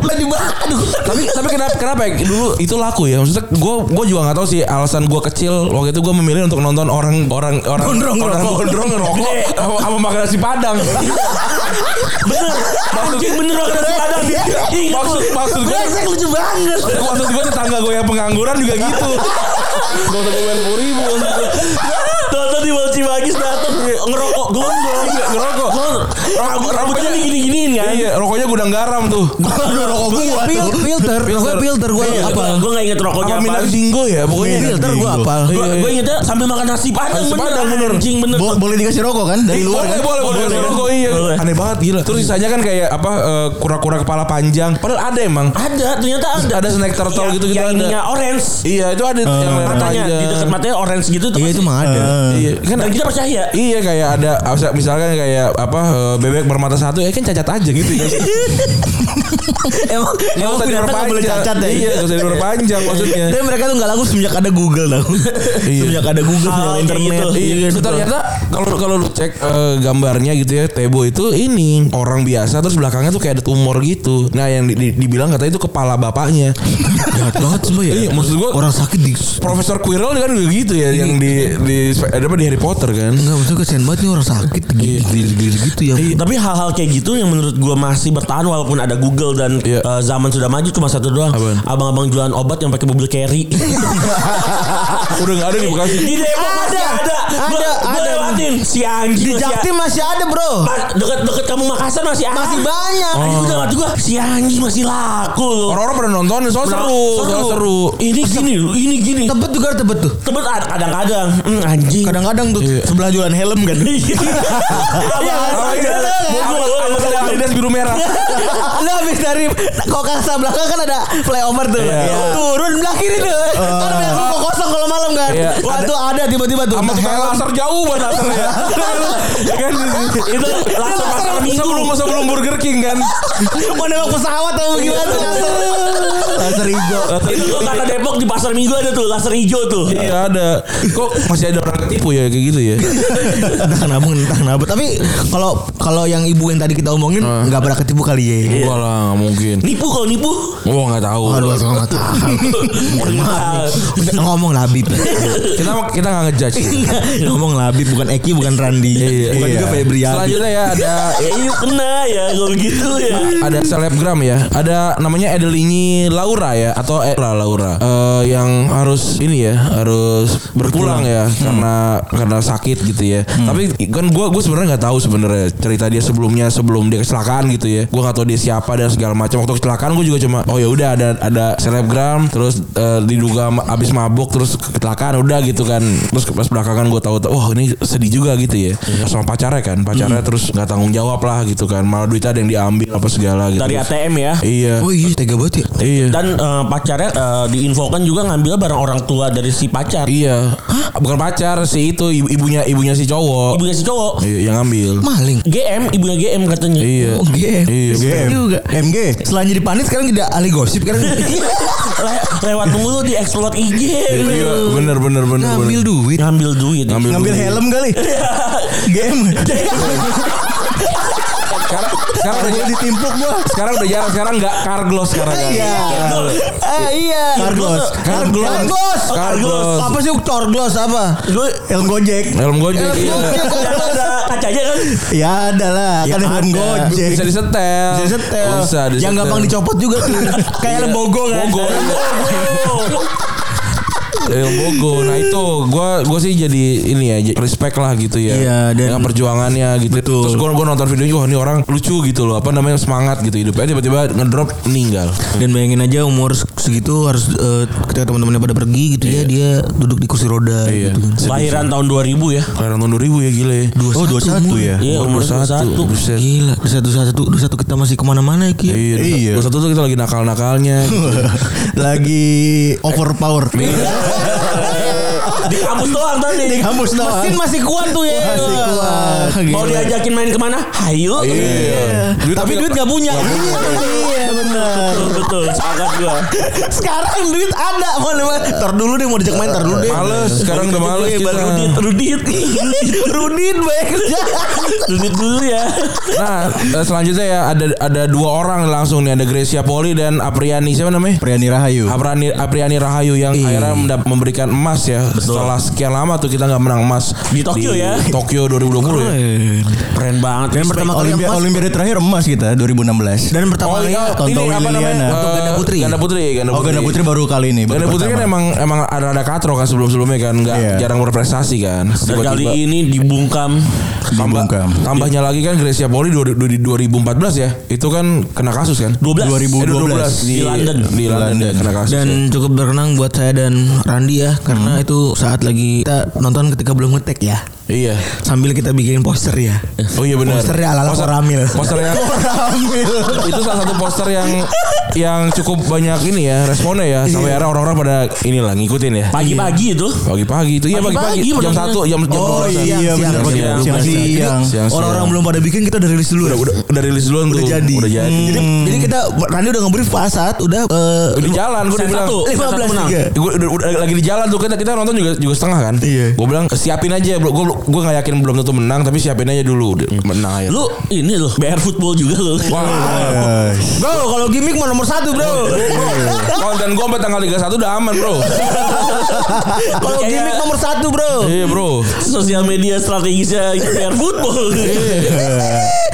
S5: Udah dibalik. Aduh.
S2: tapi tapi kenapa kenapa ya? dulu itu laku ya maksudnya gue gue juga nggak tahu sih alasan gue kecil waktu itu gue memilih untuk nonton orang orang orang
S5: Gondrong
S2: orang
S5: ngerokok.
S2: gondrong ngerokok sama, sama makan nasi padang
S4: Bener. Anjing bener orang nasi padang. Ingat
S2: Iya. maksud
S4: lu.
S2: maksud gue
S5: Brengsek lucu banget.
S2: maksud gue tetangga gue yang pengangguran juga gitu gak usah gue main puri
S4: Tonton di Bang Cibagis dateng ngerokok gondrong.
S2: Iya, ngerokok.
S4: Rambut, rambutnya digini-giniin kan.
S2: iya rokoknya gudang garam tuh
S3: Aduh rokok gua
S5: Pil-
S3: tuh.
S5: Filter, Iya. gue filter gue apa?
S4: Gue gak inget rokoknya
S2: Iya. apa
S4: apa.
S2: minat dingo ya pokoknya
S5: Filter gue
S2: Dingo.
S5: apal.
S2: Iya, iya.
S4: Gue ingetnya sambil makan nasi padang
S2: Nasi
S4: bener.
S2: padang, bener.
S4: Anjing bener.
S3: Bo- boleh dikasih rokok kan dari luar
S2: boleh,
S3: kan?
S2: boleh, boleh,
S4: Boleh,
S2: Rokok,
S4: kan?
S2: iya.
S4: Boleh.
S2: Aneh banget gila. Terus sisanya kan kayak apa eh, kura-kura kepala panjang. Padahal ada emang.
S4: Ada ternyata ada.
S2: Ada snack turtle
S4: Yang-
S2: gitu-gitu
S4: Yang
S2: ada.
S4: ininya orange.
S2: Iya, itu ada yang leher
S4: Eh. Matanya
S2: panjang.
S4: di dekat matanya orange gitu tuh.
S5: Iya itu mah ada.
S3: Eh,
S2: Iya, kan
S4: Dan kita percaya.
S2: Iya kayak ada misalkan kayak apa eh, bebek bermata satu ya kan cacat aja gitu ya.
S5: Emang
S2: Nggak
S5: emang
S2: usah
S5: binatang nggak boleh
S2: diperpanjang.
S5: cacat ya.
S2: Iya, nggak usah diperpanjang maksudnya.
S5: Tapi mereka tuh gak laku semenjak ada Google tau
S2: Iya.
S5: Semenjak ada Google,
S4: Hal
S5: semenjak
S4: kayak
S5: internet
S4: gitu.
S2: Iya,
S5: betul.
S2: ternyata kalau kalau lu cek eh, gambarnya gitu ya, Tebo itu ini orang biasa terus belakangnya tuh kayak ada tumor gitu. Nah, yang di- di- dibilang katanya itu kepala bapaknya.
S5: Jahat banget semua ya
S2: Iya, maksud gua-
S5: Orang sakit di
S2: Profesor Quirrell kan juga gitu ya yang di di ada apa di Harry Potter kan.
S5: Enggak maksudnya kesian banget nih orang sakit
S2: Iya.
S5: Gila-gila gitu ya
S4: Iya. Tapi hal-hal kayak gitu yang menurut gua masih bertahan walaupun ada Google dan
S2: Iya.
S4: eh, zaman sudah maju cuma satu doang.
S2: Apaan?
S4: Abang-abang jualan obat yang pakai mobil carry.
S2: Udah nggak ada di Bekasi.
S4: Di Depok masih
S5: Ada,
S4: ada.
S5: ada,
S4: Gua- gua
S5: ada.
S4: lewatin
S5: Di
S4: si anjing. si-
S5: Jaktim masih ada bro
S2: Oh.
S4: Ma- Deket-deket kamu Makassar masih ada.
S5: Masih banyak
S4: Anjing, Udah kata gua si anjing masih laku loh.
S2: Orang-orang pada nonton soal
S4: Nah,
S2: seru, soal seru.
S4: Ini gini, ini gini.
S5: Tebet juga ada tebet tuh
S4: Tebet ada- kadang-kadang Hmm, anjing.
S5: Kadang-kadang tuh
S2: Iya.
S5: sebelah jualan helm kan
S4: Iya.
S3: Gitu
S2: Apa
S4: Abang-abang
S2: ya?
S4: jualan.
S2: Apa-
S4: Bogor.
S2: apa sedang Adidas biru merah.
S5: Lu Nah, habis dari Kokasa belakang kan ada flyover tuh
S2: Iya.
S5: Turun belah kiri tuh Kan banyak ruko kosong kalau malam kan
S2: Iya.
S5: Wah
S2: Ada-
S5: tuh ada tiba-tiba tuh
S2: Sama
S5: Nah,
S2: tukang laser jauh banget lasernya. Ya kan?
S4: Itu langsung pasar minggu.
S2: Sebelum sebelum Burger King kan.
S5: Mau nembak pesawat atau gimana tuh laser Laser hijau
S4: Itu tuh kata Depok di pasar minggu ada tuh laser hijau tuh.
S2: Iya ada. Kok masih ada orang ketipu ya kayak gitu ya?
S5: entah kenapa entah kenapa tapi kalau kalau yang ibu yang tadi kita omongin
S2: Ah.
S5: nggak pernah ketipu kali ya
S2: Enggak lah, nggak mungkin.
S4: Nipu kalau nipu.
S2: Oh nggak tahu.
S5: Aduh, aku nggak tahu.
S2: Iya.
S4: Ah,
S5: Udah ngomong labib.
S2: Kita kita nggak ngejudge.
S5: ngomong labib bukan Eki bukan Randi.
S2: Iya.
S5: bukan juga Febriadi.
S2: Selanjutnya ya ada
S4: Ya yuk kena ya kalau begitu ya.
S2: ada selebgram ya ada namanya Edelini Laura ya atau Era Laura Eh, yang harus ini ya harus berpulang ya karena karena sakit gitu ya tapi kan gue gue sebenarnya nggak tahu sebenarnya cerita dia sebelumnya sebelum dia kecelakaan gitu ya gue nggak tahu dia siapa dan segala macam waktu kecelakaan gue juga cuma oh ya udah ada ada selebgram terus eh, diduga ma- abis mabuk terus kecelakaan udah gitu kan terus pas belakangan gue tahu wah ini sedih juga gitu ya sama pacarnya kan pacarnya terus nggak tanggung jawab lah gitu kan malah duitnya ada yang diambil apa segala gitu
S4: Dari ATM ya.
S2: Iya.
S5: Oh iya tega banget ya.
S2: Iya.
S4: Dan eh, pacarnya eh, diinfokan juga ngambil barang orang tua dari si pacar.
S2: iya. Bukan pacar si itu ibu- ibunya ibunya si cowok.
S4: Ibunya si cowok.
S2: Iya, yang ngambil.
S5: Maling.
S4: GM, ibunya GM katanya.
S2: Iya.
S5: Oh, GM.
S2: Iya.
S3: GM.
S5: Juga.
S3: MG.
S5: Selain jadi panit sekarang jadi ahli gosip kan.
S4: Le- lewat mulu di explore IG.
S2: Iya, bener bener bener.
S5: Ngambil
S2: bener.
S5: duit.
S4: Ngambil duit.
S2: Ngambil
S3: Ngambil
S2: duit.
S3: helm kali.
S2: Iya.
S3: GM.
S2: Sekarang sekarang udah
S3: Gue ditimpuk gua.
S2: sekarang udah jarang sekarang nggak karglos sekarang kan.
S5: Iya. Ah iya.
S3: Carglass.
S2: Carglass.
S5: Carglass.
S2: Carglass.
S5: Apa sih Torglass apa?
S4: Lu
S3: Helm Gojek.
S2: Helm gojek iya.
S4: yang ada kacanya kan.
S3: Ya ada lah. Kan helm
S5: ada.
S3: Gojek.
S2: Bisa disetel.
S5: Bisa disetel.
S2: Bisa disetel. Iya.
S5: Yang gampang dicopot juga tuh. Kayak lembogo kan.
S2: Bogo. El Bogo. Nah itu gue gue sih jadi ini ya j- respect lah gitu ya.
S3: Iya, dan-
S2: dengan perjuangannya gitu.
S3: Betul.
S2: Terus gue gue nonton videonya wah ini orang lucu gitu loh. Apa namanya semangat gitu hidupnya tiba-tiba ngedrop meninggal.
S3: Dan bayangin aja umur segitu harus eh, ketika teman-temannya pada pergi gitu ya dia duduk di kursi roda
S2: Iya.
S3: gitu kan.
S4: Lahiran tahun 2000 ya.
S2: Kelahiran tahun 2000 ya gile.
S3: Oh, 21 ya?
S4: Iya, umur 21.
S2: Buset.
S5: Iya.
S3: Gila, di satu satu di satu kita masih kemana-mana ya, Ki.
S2: ya? Iya.
S3: Iya.
S2: Dua satu tuh kita lagi nakal-nakalnya. gitu.
S3: Lagi overpower. Iya,
S4: Di kampus doang tadi.
S3: Di kampus doang.
S4: Mesin masih kuat tuh ya.
S3: Masih kuat.
S4: Mau
S3: Gila.
S4: diajakin main kemana? Hayu.
S2: Iya. Duit
S4: Tapi
S2: tapi-
S4: duit gak punya.
S3: Iya benar.
S4: Betul, betul. Sangat gua.
S6: Sekarang duit ada mau
S3: Ntar dulu deh mau dijak main ntar dulu deh.
S2: Males sekarang udah males
S4: Eh,
S2: kita.
S4: Rudit, Rudit. Rudit banyak kerja. Rudit dulu ya.
S2: Nah eh, selanjutnya ya ada ada dua orang langsung nih ada Gracia Poli dan Apriani siapa namanya?
S3: Priani Rahayu.
S2: Aprani, Apriani Rahayu yang akhirnya mendap- memberikan emas ya setelah sekian lama tuh kita nggak menang emas
S4: Di Tokyo ya.
S2: Tokyo 2020 ya
S4: Keren banget.
S3: Dan
S4: respect.
S3: pertama kali Olimpia,
S4: Oh, emas.
S3: Olimpiade terakhir emas kita 2016. Dan pertama
S2: Oh, iya,
S3: Tonton
S2: ini apa namanya?
S3: Liliana.
S2: Eh,
S3: Ganda Putri.
S2: Ganda Putri, Ganda
S3: Oh Ganda Putri baru kali ini.
S2: Ganda Putri kan emang emang ada ada katro kan sebelum sebelumnya kan nggak
S3: Iya.
S2: jarang berprestasi kan.
S4: Dan
S2: Tiba-tiba
S4: kali ini dibungkam.
S2: tambah-
S3: dibungkam.
S2: tambahnya lagi kan Gracia Poli dua- dua- di 2014 ya itu kan kena kasus kan.
S4: 12.
S3: 2000.
S2: 2012
S4: Di London.
S2: Iya, Di London,
S3: London.
S2: kena kasus. ya. Hmm.
S5: Dan cukup berkenang buat saya dan Randi ya karena itu saat lagi kita nonton ketika belum ngetek ya.
S2: Iya.
S5: Sambil kita bikin poster ya.
S2: Oh iya benar.
S5: Posternya ala-ala
S2: Poster-
S5: Koramil.
S2: Poster yang itu salah satu poster yang yang cukup banyak ini ya responnya ya sampai akhirnya orang-orang pada inilah ngikutin ya.
S4: Pagi-pagi itu.
S2: Pagi-pagi itu iya
S4: Pagi-pagi,
S2: pagi-pagi jam
S4: maksudnya.
S2: 1 jam jam
S3: Oh
S2: 12.
S3: iya benar.
S2: siang,
S3: Siang
S2: siang,
S3: siang. siang.
S2: Siang, siang.
S5: Orang-orang belum pada bikin kita udah rilis dulu.
S2: udah, udah, udah rilis duluan tuh.
S5: jadi.
S2: Udah jadi. Hmm.
S5: Jadi, jadi kita Randi udah ngebrief pas saat udah eh,
S2: Udah di jalan gue udah bilang.
S4: satu.
S2: Eh,
S5: 15
S4: menang.
S5: tiga.
S2: Gue udah, udah lagi di jalan tuh kita kita nonton juga juga setengah kan.
S5: Iya.
S2: Gue bilang siapin aja bro. Gue gue nggak yakin belum tentu menang tapi siapin aja dulu Udah, menang ya.
S4: Lu ini loh. BR football juga loh.
S2: Wah,
S5: Bro, kalau gimmick mah nomor satu bro.
S2: konten gue sampai tanggal 31 udah aman bro.
S5: kalau
S4: Kayak-
S5: gimmick nomor satu bro.
S2: Iya bro.
S4: Sosial media strategisnya BR football.
S2: Iya.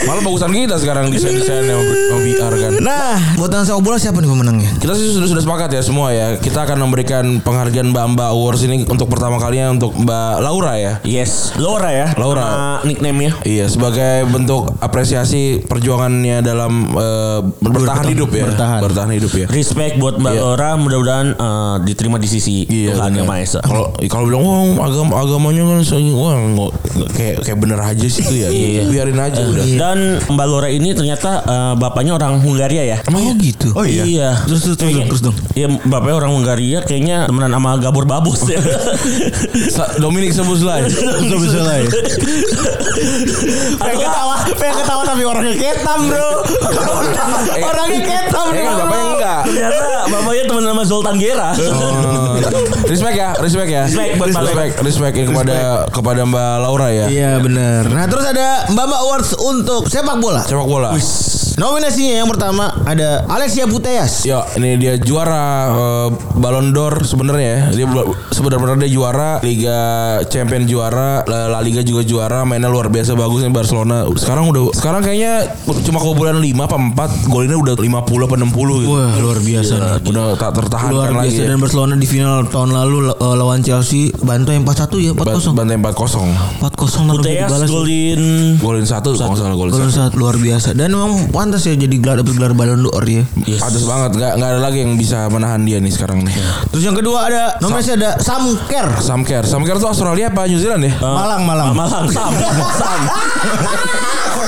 S2: Malah bagusan kita sekarang desain-desain yang VR kan.
S5: Nah, buat yang sepak bola siapa nih pemenangnya?
S2: Kita sih sudah sudah sepakat ya semua ya. Kita akan memberikan penghargaan Mbak Mbak Awards ini untuk pertama kalinya untuk Mbak Laura ya.
S4: Yes, Laura ya.
S2: Laura.
S4: Nama nickname-nya.
S2: Iya sebagai bentuk apresiasi perjuangannya dalam eh, bertahan hidup ya.
S3: bertahan.
S2: hidup ya.
S4: Respect buat Mbak
S2: Iya.
S4: Laura, mudah-mudahan eh, diterima di sisi Tuhan
S2: bener.
S4: yang Maha Esa.
S2: Kalau kalau bilang wah agama agamanya kan se- wah nggak- nggak- kayak kayak bener aja sih itu ya. Biarin aja udah.
S4: Dan Mbak Laura ini ternyata eh, bapaknya orang Hungaria ya.
S5: Oh gitu.
S3: Oh iya.
S4: Terus terus terus, terus dong. Iya, bapaknya orang Hungaria kayaknya temenan sama Gabor Babos ya.
S2: Sa- Dominic Sebuzlai.
S3: Betul betul lah. ya.
S6: pengen ketawa,
S3: Ah,
S6: pengen ketawa tapi orangnya ketam bro. orangnya ketam
S2: Eh
S6: bro.
S2: kan bapaknya enggak.
S4: ternyata bapaknya temenan sama Zoltan Gera.
S2: Oh. respect ya, respect ya.
S4: Respect buat Mbak
S2: respect, respect ya kepada kepada Mbak Laura ya.
S5: Iya benar. Nah terus ada Mbak Mbak Awards untuk sepak bola.
S2: Sepak bola.
S5: Nominasinya yang pertama ada Alexia Putellas.
S2: Ya, ini dia juara eh, Ballon d'Or sebenarnya. ya. Dia bel- sebenarnya dia juara Liga Champion juara, La La Liga juga juara, mainnya luar biasa bagus nih Barcelona. Sekarang udah sekarang kayaknya cuma kebobolan 5 apa 4, golinnya udah 50 apa 60 gitu.
S5: Wah luar biasa nih.
S2: Udah tak tertahankan
S5: Luar
S2: lagi.
S5: biasa
S2: ya.
S5: dan Barcelona di final tahun lalu eh, lawan Chelsea bantai 4-1 ya
S2: Ban-
S5: 4-0. 4-0
S2: Bantai 4-0.
S5: lalu
S4: Teas
S5: dibalas.
S4: golin
S2: Golin 1 kalau nggak salah golin
S5: Gol saat luar biasa dan memang pantas ya jadi gelar dapat gelar Ballon d'Or ya.
S2: Yes. Pantes banget nggak nggak ada lagi yang bisa menahan dia nih sekarang nih.
S5: Terus yang kedua ada nominasi ada Sam Kerr.
S2: Samker, Samker tuh Australia apa New Zealand ya?
S3: Malang malang.
S4: Malang Sam Sam.
S5: Oh,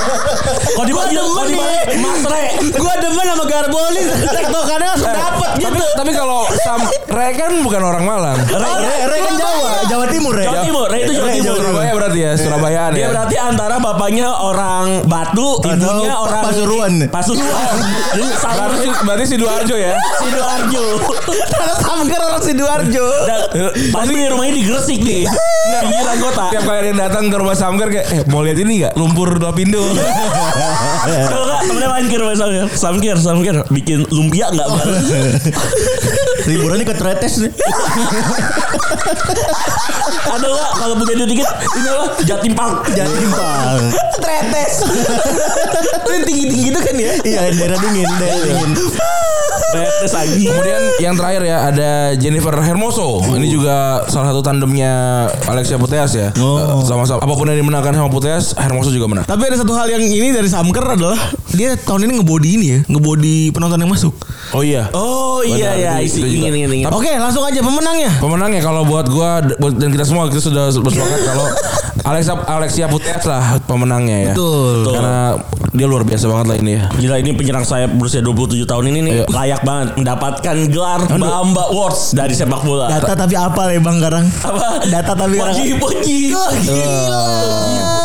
S4: Kok dibagi kok dibagi Mas Re.
S5: Gua demen sama Garboli tektokannya
S4: Eh,
S5: langsung dapet
S2: Tapi, tapi kalau Samre kan bukan orang Malang.
S4: Re, Re,
S3: Re kan Jawa, Jawa Timur ya.
S4: Jawa Timur, Re itu Jawa
S3: Re,
S4: Timur.
S2: Surabaya berarti ya, Surabaya
S4: Dia
S2: ya.
S4: berarti antara bapaknya orang Batu, ibunya
S3: Atau
S4: orang
S3: Pasuruan.
S4: Pasuruan. Jadi Sam
S2: Berarti, berarti Sidoarjo ya.
S4: Sidoarjo.
S5: Sam Kerr orang Sidoarjo.
S4: Dan pasti rumahnya di Gresik nih. Pinggiran kota.
S2: Tiap kali ada yang datang ke rumah Samker kayak eh, mau lihat ini nggak? Lumpur Lapindo.
S4: Kalau nggak, temennya main kir sama Samkir. Samkir, Samkir. Bikin lumpia nggak Bang?
S3: Liburannya ke Tretes nih.
S4: Ada nggak kalau punya duit dikit ini apa? Jatim Park.
S3: Jangan timpang.
S6: Tretes. Lu yang tinggi-tinggi
S4: gitu
S6: itu kan ya.
S3: Iya, daerah dingin, daerah dingin.
S4: Betes lagi.
S2: Kemudian yang terakhir ya ada Jennifer Hermoso. Ini juga salah satu tandemnya Alexia Putellas ya.
S3: Oh.
S2: Eh, Sama-sama. Apapun yang dimenangkan sama Putellas, Hermoso juga menang.
S5: Tapi ada satu hal yang ini dari Samker adalah dia tahun ini ngebody ini ya, ngebody penonton yang masuk.
S2: Oh iya.
S4: Oh iya iya
S2: Benar, itu-
S4: isi
S2: itu juga.
S4: ingin ingin ingin.
S5: Oke, langsung aja pemenangnya.
S2: Pemenangnya ya kalau buat gua d- buat- dan kita semua kita sudah bersepakat kalau Alexia Alexia Putellas lah pemenangnya ya.
S5: Betul.
S2: Karena dia luar biasa banget lah ini ya.
S4: Gila ini penyerang saya berusia 27 tahun ini nih
S2: Iya.
S4: layak banget mendapatkan gelar Bamba Awards dari sepak bola.
S5: Data tapi apa ya Bang Karang?
S4: Apa?
S5: Data tapi
S4: Poji poji.
S5: Oh, iya.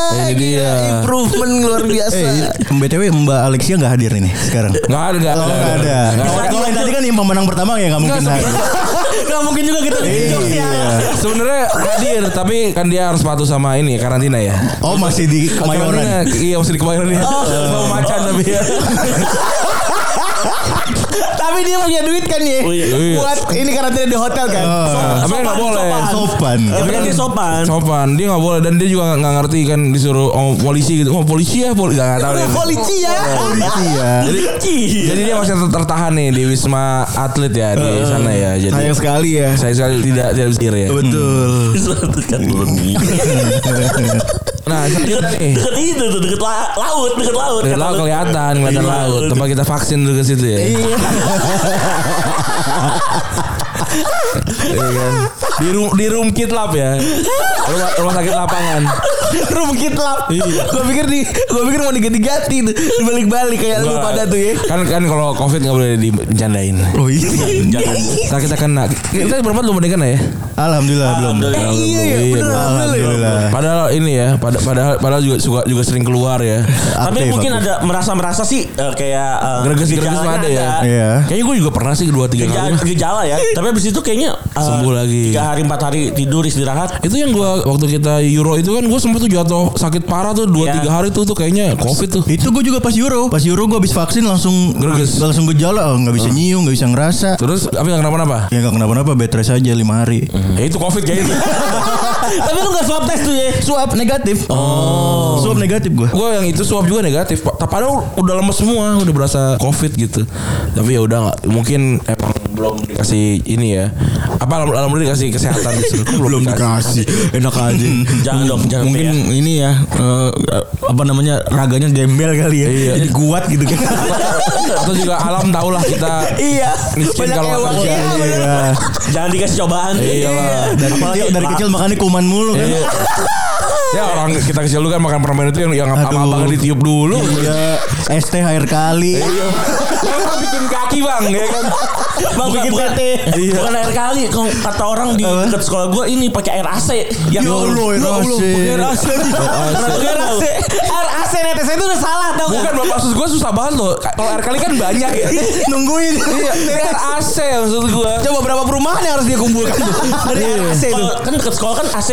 S2: Ini dia.
S5: improvement luar biasa.
S3: Eh, BTW Mbak Alexia nggak hadir ini sekarang.
S2: Enggak ada enggak
S3: Kalau Oh, nggak ada. Kalau- Kalau yang tadi kan yang pemenang pertama ya nggak mungkin hadir.
S4: Gak mungkin juga
S5: gitu.
S4: kita bikin jokes ya.
S3: Iya.
S2: Sebenarnya hadir tapi kan dia harus patuh sama ini karantina ya.
S3: Oh masih di
S2: Karantina,
S3: Kemayoran.
S2: Iya masih di kemayoran ya. Sama macan tapi ya.
S6: Tapi dia punya duit kan ya.
S4: Oh, iya.
S6: Buat ini karantina di hotel kan.
S3: Oh,
S2: Tapi kan nggak boleh.
S3: Sopan.
S4: Tapi kan dia sopan.
S2: Sopan, dia nggak boleh dan dia juga nggak- nggak ngerti kan disuruh oh, polisi gitu. Oh polisi ya, polisi nggak nggak tahu dia.
S6: Polisi ya.
S5: Oh.
S3: Polisi ya.
S4: Jadi
S2: Jadi dia masih ter- tertahan nih di Wisma Atlet ya di sana ya. Jadi
S5: Sayang sekali ya.
S2: saya sekali tidak tidak bisa ya.
S3: Betul.
S4: dekat bumi.
S2: Nah, selanjutnya nih.
S4: Dekat itu tuh dekat la- laut, dekat laut.
S2: Dekat laut kelihatan, kelihatan
S4: Iya.
S2: laut. Tempat kita vaksin dulu ke situ ya. Iya kan? Di room di room kit lab ya. Rumah, rumah sakit lapangan.
S6: Rumkit lap.
S2: Iya.
S6: Gue pikir di gue pikir mau diganti-ganti tuh. Dibalik-balik kayak lu
S2: Nggak.
S6: pada tuh ya.
S2: Kan kan kalau covid nggak boleh dibicarain.
S3: Oh iya.
S4: Jangan.
S2: Nah, kita kena. Kita berempat belum ada yang kena ya?
S3: Alhamdulillah belum.
S4: Alhamdulillah.
S6: Iya ya,
S2: Iya,
S6: bener
S3: Alhamdulillah.
S2: Padahal ini ya, pada, padahal padahal juga suka juga sering keluar ya.
S4: Tapi
S3: Aktif,
S4: mungkin
S3: aktif.
S4: ada merasa-merasa sih eh, kayak eh,
S2: Greges-greges
S4: gejalanya
S2: ada ya.
S3: Iya.
S2: Kayaknya gue juga pernah sih dua tiga
S4: Gejala,
S2: kali.
S4: gejala ya. Tapi abis itu kayaknya eh,
S2: Sembuh lagi.
S4: Tiga hari empat hari tidur istirahat.
S2: Itu yang gua waktu kita Euro itu kan gue sempet tuh jatuh sakit parah tuh 2 3
S4: Iya.
S2: hari tuh tuh kayaknya covid tuh.
S3: Itu gue juga pas Euro. Pas Euro gue habis vaksin langsung
S2: Greges.
S3: langsung gejala Oh, nggak bisa nyium nggak bisa ngerasa.
S2: Terus tapi nggak kenapa-napa.
S3: Ya nggak kenapa-napa bed rest aja lima hari.
S2: Ya itu covid kayaknya.
S4: Hmm. Tapi lu gak swab test tuh ya.
S3: Swab negatif. Oh. Swab negatif gue.
S2: gue yang itu swab juga negatif. Pak. Padahal udah lemes semua, udah berasa covid gitu. Tapi ya udah nggak- mungkin emang belum dikasih ini ya. Apa alham- alhamdulillah dikasih kesehatan gitu.
S5: Belum dikasih. Enak aja.
S2: Hmm,
S4: Jangan dong, jangan
S5: Mungkin
S4: ya.
S5: ini ya eh, apa namanya raganya gembel kali ya.
S2: Iya.
S5: Jadi kuat gitu kan.
S2: Atau juga alam tau lah kita
S6: Iya.
S2: miskin
S6: Banyak
S2: kalau
S6: ewang.
S2: kerja.
S6: Iya, bener.
S3: Iya.
S4: Jangan dikasih cobaan.
S2: Iya lah.
S3: Dari
S4: Apalagi-
S3: kecil dari kecil makannya kuman mulu kan.
S2: Iya. Ya orang kita kecil dulu kan makan permen itu yang yang
S3: Aduh.
S2: abang abang ditiup dulu.
S3: Iya. ST air kali.
S2: Eh.
S5: Iya.
S2: Orang bikin kaki bang ya kan.
S4: Bang, bukan,
S6: Bikin
S4: bukan,
S6: PT.
S4: bukan air kali Kalau kata orang di dekat sekolah gue ini pakai air AC yang
S3: Ya Allah, air AC.
S4: air AC Pakai air AC
S6: Ar- AC netes itu udah salah tau
S2: Bukan bapak maksud gue susah banget loh. Kalau air kali kan banyak ya.
S6: Nungguin.
S2: Iya, AC maksud gue.
S5: Oh,
S6: Coba berapa perumahan yang harus dia kumpulkan tuh dari air AC itu.
S4: Kalau- kan dekat sekolah kan AC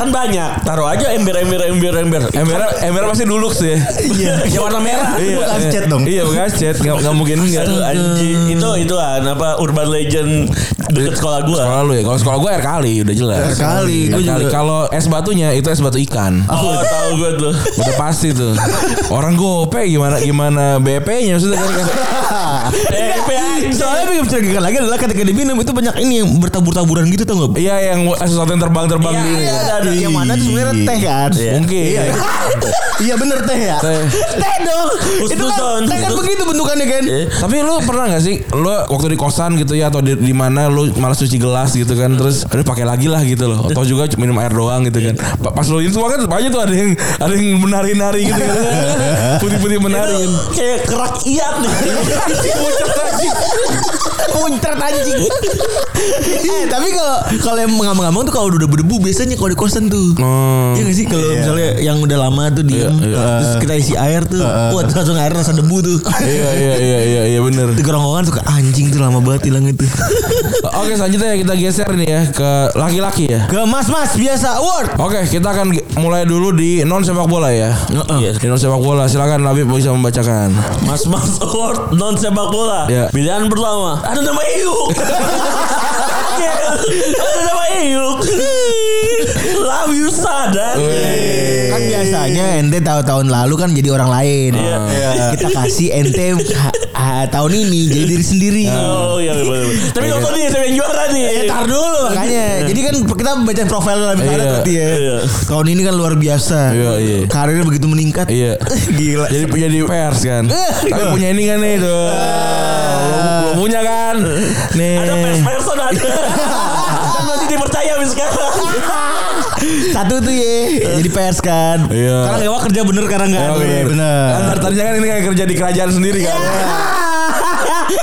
S4: kan banyak taruh aja ember ember ember ember
S2: Ember ember pasti dulu sih.
S3: Iya.
S4: yang warna merah
S2: Iya.
S3: Bekas cat dong.
S2: Iya bekas cat nggak nggak mungkin nggak.
S4: Aduh, anjing. itu itu kan apa urban legend dekat sekolah gue
S2: Sekolah lu ya. Kalau sekolah gue air kali udah jelas.
S3: Air kali,
S2: Air
S3: gua
S2: kali. Kalau es batunya itu es batu ikan.
S4: oh tahu gue tuh
S2: Udah pasti tuh. Orang gope gimana gimana BP-nya maksudnya kan. Iya,
S4: eh PA.
S5: Soalnya yang mencurigakan lagi adalah ketika diminum itu banyak ini yang bertabur-taburan gitu tau gak?
S2: Iya yang sesuatu yang terbang-terbang
S4: Iya,
S2: gini.
S4: iya, ada, ada.
S3: Yang mana tuh sebenarnya teh
S5: kan?
S2: Mungkin.
S3: Iya bener teh ya.
S2: Teh.
S6: Teh dong. Itu
S4: Husnuzon.
S6: kan teh kan begitu bentukannya kan.
S2: Tapi lu pernah gak sih lu waktu di kosan gitu ya atau di, di mana lu malas cuci gelas gitu kan terus aduh pakai lagi lah gitu loh atau juga minum air doang gitu kan Pa- pas lu itu kan banyak tuh ada yang ada yang menari-nari gitu kan putih-putih menari
S4: kayak kerak iat nih
S6: Muncrat anjing.
S5: Eh tapi kalau kalau yang mengambang-ambang tuh kalau udah berdebu biasanya kalau di kosan tuh.
S2: Hmm.
S5: Iya gak sih kalau misalnya yang udah lama tuh diem terus kita isi air tuh, wah terus langsung air rasa debu tuh.
S2: iya iya iya iya iya bener
S5: Di kerongkongan suka anjing tuh lama banget hilang itu.
S2: oke selanjutnya kita geser nih ya ke laki-laki ya
S5: Ke mas-mas biasa award.
S2: Oke, kita akan ge- mulai dulu di non sepak bola ya.
S4: Iya.
S2: Di non sepak bola, silakan Labib bisa membacakan.
S4: Mas Mas Award non sepak bola.
S2: Iya.
S5: Ya.
S4: Pilihan Iya. pertama. Ada nama Iuk. ada nama Iuk. bisa dan
S2: Iya.
S5: kan biasanya ente tahu tahun lalu kan jadi orang lain. Kita kasih ente ha- ha- tahun ini jadi diri sendiri.
S4: Oh iya bener bener. Tapi nonton nih siapa yang juara nih.
S5: Eh, tar dulu makanya. Jadi kan kita baca profil lebih
S2: Iya.
S5: karet berarti ya.
S4: Iya.
S5: Tahun ini kan luar biasa.
S2: Iya, iya.
S5: Karirnya begitu meningkat.
S2: Iya.
S5: Gila.
S2: Jadi jadi pers kan. Tapi punya ini kan nih itu. Belum belum punya kan. Nih.
S4: Ada pers person ada. Kan masih dipercaya abis sekarang.
S5: Satu tuh ya. Jadi pers kan.
S2: Iya.
S5: Karena ngewa kerja bener karena enggak.
S2: Iya,
S5: ada.
S2: bener. Kan tadinya kan ini kayak kerja di kerajaan sendiri kan.
S5: Iya.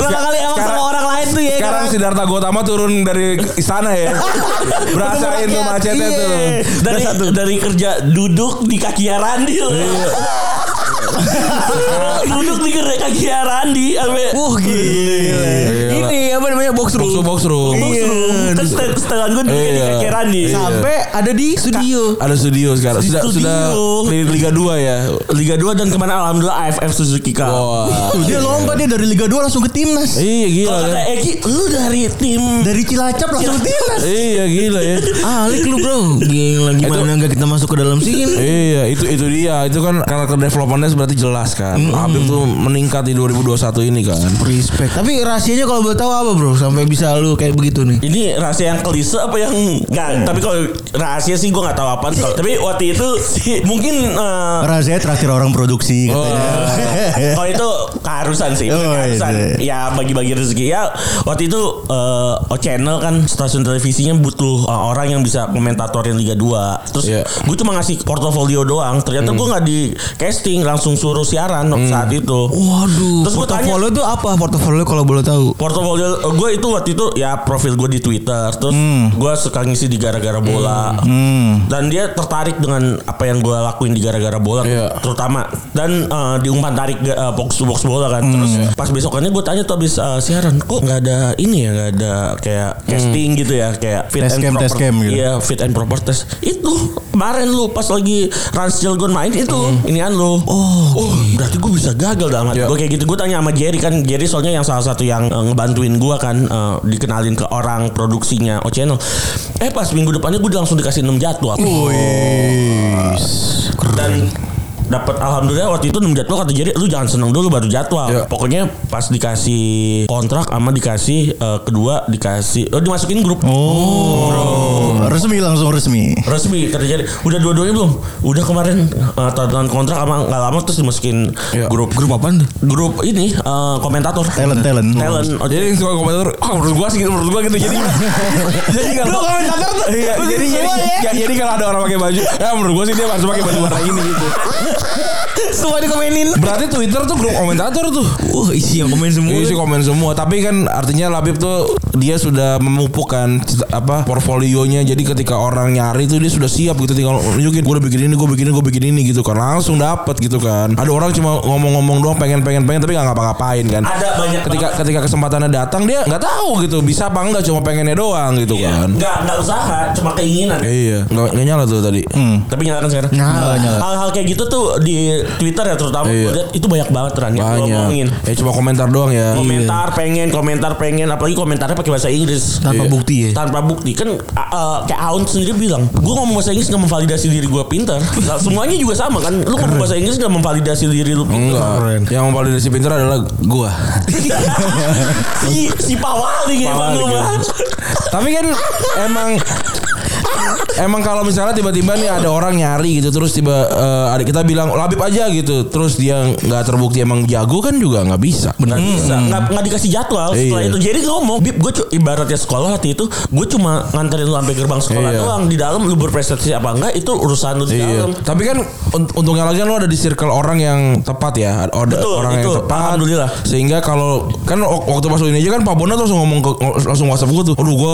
S5: Berapa kali emang
S2: Sekarang-
S5: sama orang lain tuh ya.
S2: Sekarang
S5: karena-
S2: Sidarta Gautama turun dari istana ya. Berasain tuh
S5: Rakyat,
S2: macetnya
S5: iya.
S2: tuh.
S4: Dari dari kerja duduk di kaki Randi.
S5: Iya.
S4: duduk di kaki Randi sampai
S5: Wah gila. Ini apa namanya box room.
S2: Iya. Box room, box room.
S4: Box
S5: Iya,
S4: room. Kan setel- setelan gue duduknya di
S2: Iya.
S4: kaki Randi.
S2: Iya.
S5: Sampai ada di studio.
S2: Ada studio sekarang. Sudah
S4: Studio.
S2: sudah di Liga 2 ya.
S4: Liga 2 dan kemana alhamdulillah AFF Suzuki Cup.
S2: Wah.
S3: Tuh, dia lompat dia dari Liga 2 langsung ke timnas.
S2: Iya gila
S4: Kalau
S2: kan.
S4: Oh, kata Egi, lu dari tim
S3: Dari Cilacap langsung ke timnas.
S2: Iya gila ya.
S5: Alik lu bro Gila gimana nggak kita masuk ke dalam sini
S2: Iya itu itu dia itu kan karakter developernya berarti jelas kan Habib tuh meningkat di 2021 ini kan
S5: Respect Tapi rahasianya kalau boleh tahu apa bro Sampai bisa lu kayak begitu nih
S4: Ini rahasia yang kelise apa yang enggak? Tapi kalau rahasia sih gua nggak tahu apa. Tapi waktu itu sih mungkin eh,
S3: Razia terakhir orang produksi katanya.
S4: kalau itu keharusan sih,
S3: Oh,
S4: keharusan. Ya bagi-bagi rezeki ya. Waktu itu eh, O Channel kan stasiun televisinya butuh eh, orang yang bisa komentatorin Liga 2. Terus
S2: Iya.
S4: gue cuma ngasih portofolio doang. Ternyata gua nggak di casting, langsung suruh siaran waktu saat itu.
S5: Waduh
S4: Terus gua tanya-
S5: Portofolio itu apa portofolio kalau boleh tahu
S4: portofolio gue itu waktu itu ya profil gue di Twitter terus gue suka ngisi di gara-gara bola
S3: Hmm.
S4: dan dia tertarik dengan apa yang gue lakuin di gara-gara bola
S2: Iya.
S4: terutama dan eh, di umpan tarik eh, box to box bola kan terus pas besokannya gue tanya tuh abis eh, siaran kok nggak ada ini ya nggak ada kayak casting gitu ya kayak fit
S3: Test
S4: and
S3: cam,
S4: proper
S3: test cam gitu.
S4: iya fit and proper test itu kemarin lu pas lagi Rans Cilgon main itu inian lu oh, berarti gue bisa gagal dalam hati
S2: Iya.
S4: Gua kayak gitu gue tanya sama Jerry kan Jerry soalnya yang salah satu yang eh, ngebantuin gua kan eh, dikenalin ke orang produksinya O Channel eh pas minggu depannya gue langsung dikasih 6 jadwal dan dapat alhamdulillah waktu itu 6 jadwal kata Jerry lu jangan seneng dulu baru jadwal
S2: Iya.
S4: pokoknya pas dikasih kontrak sama dikasih eh, kedua dikasih oh dimasukin grup
S3: Oh, resmi langsung resmi.
S4: resmi terjadi udah dua-duanya belum udah kemarin eh, tanda tangan kontrak sama nggak lama terus dimasukin
S2: Iya.
S4: grup grup apa grup ini eh, komentator
S3: Talent, talent.
S4: talent oh,
S2: jadi yang suka komentator ah menurut gua sih gitu, menurut gua gitu jadi jadi nggak mau komentator tuh iya, jadi jadi nggak- jadi kalau ada orang pakai baju ya menurut gua sih dia harus pakai baju warna ini gitu
S5: Semua dikomenin
S2: berarti Twitter tuh grup komentator tuh
S5: Wah isi yang komen semua
S2: Isi komen semua, tapi kan artinya Labib tuh dia sudah memupukkan apa portfolionya. Jadi ketika orang nyari tuh dia sudah siap gitu tinggal nunjukin gue udah bikin ini, gue bikin ini, gue bikin ini gitu kan. Langsung dapat gitu kan. Ada orang cuma ngomong-ngomong doang pengen pengen pengen tapi nggak ngapa-ngapain kan.
S4: Ada banyak
S2: ketika ketika kesempatannya datang dia nggak tahu gitu bisa apa enggak cuma pengennya doang gitu kan.
S4: nggak nggak usaha cuma keinginan
S2: Iya, Hmm. nggak nggak nyala tuh tadi.
S4: tapi nyalakan sekarang
S3: Nyala, nyala.
S4: hal-hal kayak gitu tuh di Twitter ya terutama
S2: Iya.
S4: gua liat itu banyak banget Ran yang ngomongin
S2: Banyak. Ya cuma komentar doang ya.
S4: komentar pengen komentar pengen apalagi komentarnya pakai bahasa Inggris
S5: Tanpa
S2: Iya.
S5: bukti ya
S4: tanpa bukti kan a- eh, kayak Aun sendiri bilang gue ngomong bahasa Inggris nggak memvalidasi diri gue pinter Nah, semuanya juga sama kan lu ngomong bahasa Inggris nggak memvalidasi diri lu pinter
S2: Enggak. Yang paling dari si pinter adalah gua.
S4: si si Pawali gitu
S2: Pawali,
S4: lu
S2: gitu.
S4: Bang.
S2: Tapi kan emang Emang kalau misalnya tiba-tiba nih ada orang nyari gitu terus tiba eh, ada kita bilang Labib aja gitu terus dia nggak terbukti emang jago kan juga nggak bisa.
S4: Nggak bisa Hmm. nggak nggak dikasih jadwal setelah
S2: Iya.
S4: itu jadi ngomong bib gue ibaratnya sekolah waktu itu gue cuma nganterin lu sampai gerbang sekolah
S2: Iya.
S4: doang di dalam lu berprestasi apa enggak itu urusan lu di
S2: Iya.
S4: dalam
S2: Tapi kan un- untungnya lagi kan lo ada di circle orang yang tepat ya, ada
S4: Betul,
S2: orang
S4: itu.
S2: yang tepat.
S4: Alhamdulillah.
S2: Sehingga kalau kan wak- waktu masuk ini aja kan Pak Bona tuh langsung ngomong ke langsung WhatsApp gue tuh, aduh gue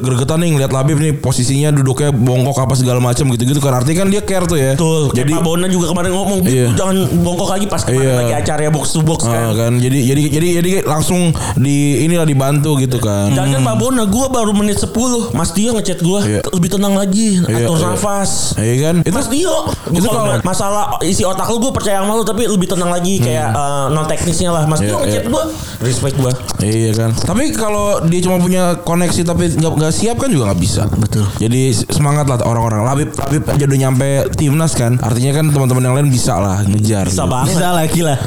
S2: gregetan nih ngeliat Labib nih posisinya duduknya bongkok apa segala macam gitu-gitu kan artinya kan dia care tuh ya.
S4: Betul. Kayak
S2: Jadi
S4: Pak Bona juga kemarin ngomong "Bib,
S2: Iya.
S4: jangan bongkok lagi pas kemarin
S2: Iya.
S4: lagi acaranya box to box kan.
S2: Ah, kan jadi jadi jadi jadi langsung di inilah dibantu gitu kan.
S4: Jangan Pak Bona, gue baru menit 10 Mas Tio ngechat gue
S2: Iya.
S4: Lebih tenang lagi
S2: Iya,
S4: Atur
S2: iya.
S4: nafas
S2: Iya kan? Itu
S4: Mas Tio Gua
S2: Itu
S4: kalau
S2: kalau-
S4: masalah isi otak lu gue percaya sama lu Tapi lebih tenang lagi Kayak eh, non teknisnya lah Mas
S2: Hmm. Iya,
S4: Tio ngechat
S2: iya.
S4: gue Respect gue
S2: Iya kan. Tapi kalau dia cuma punya koneksi tapi nggak nggak siap kan juga nggak bisa.
S5: Betul.
S2: Jadi Jadi semangat lah orang-orang. Labib Labib aja udah nyampe timnas kan. Artinya kan teman-teman yang lain bisa lah ngejar. gitu.
S4: Bisa banget.
S6: Bisa lagi lah.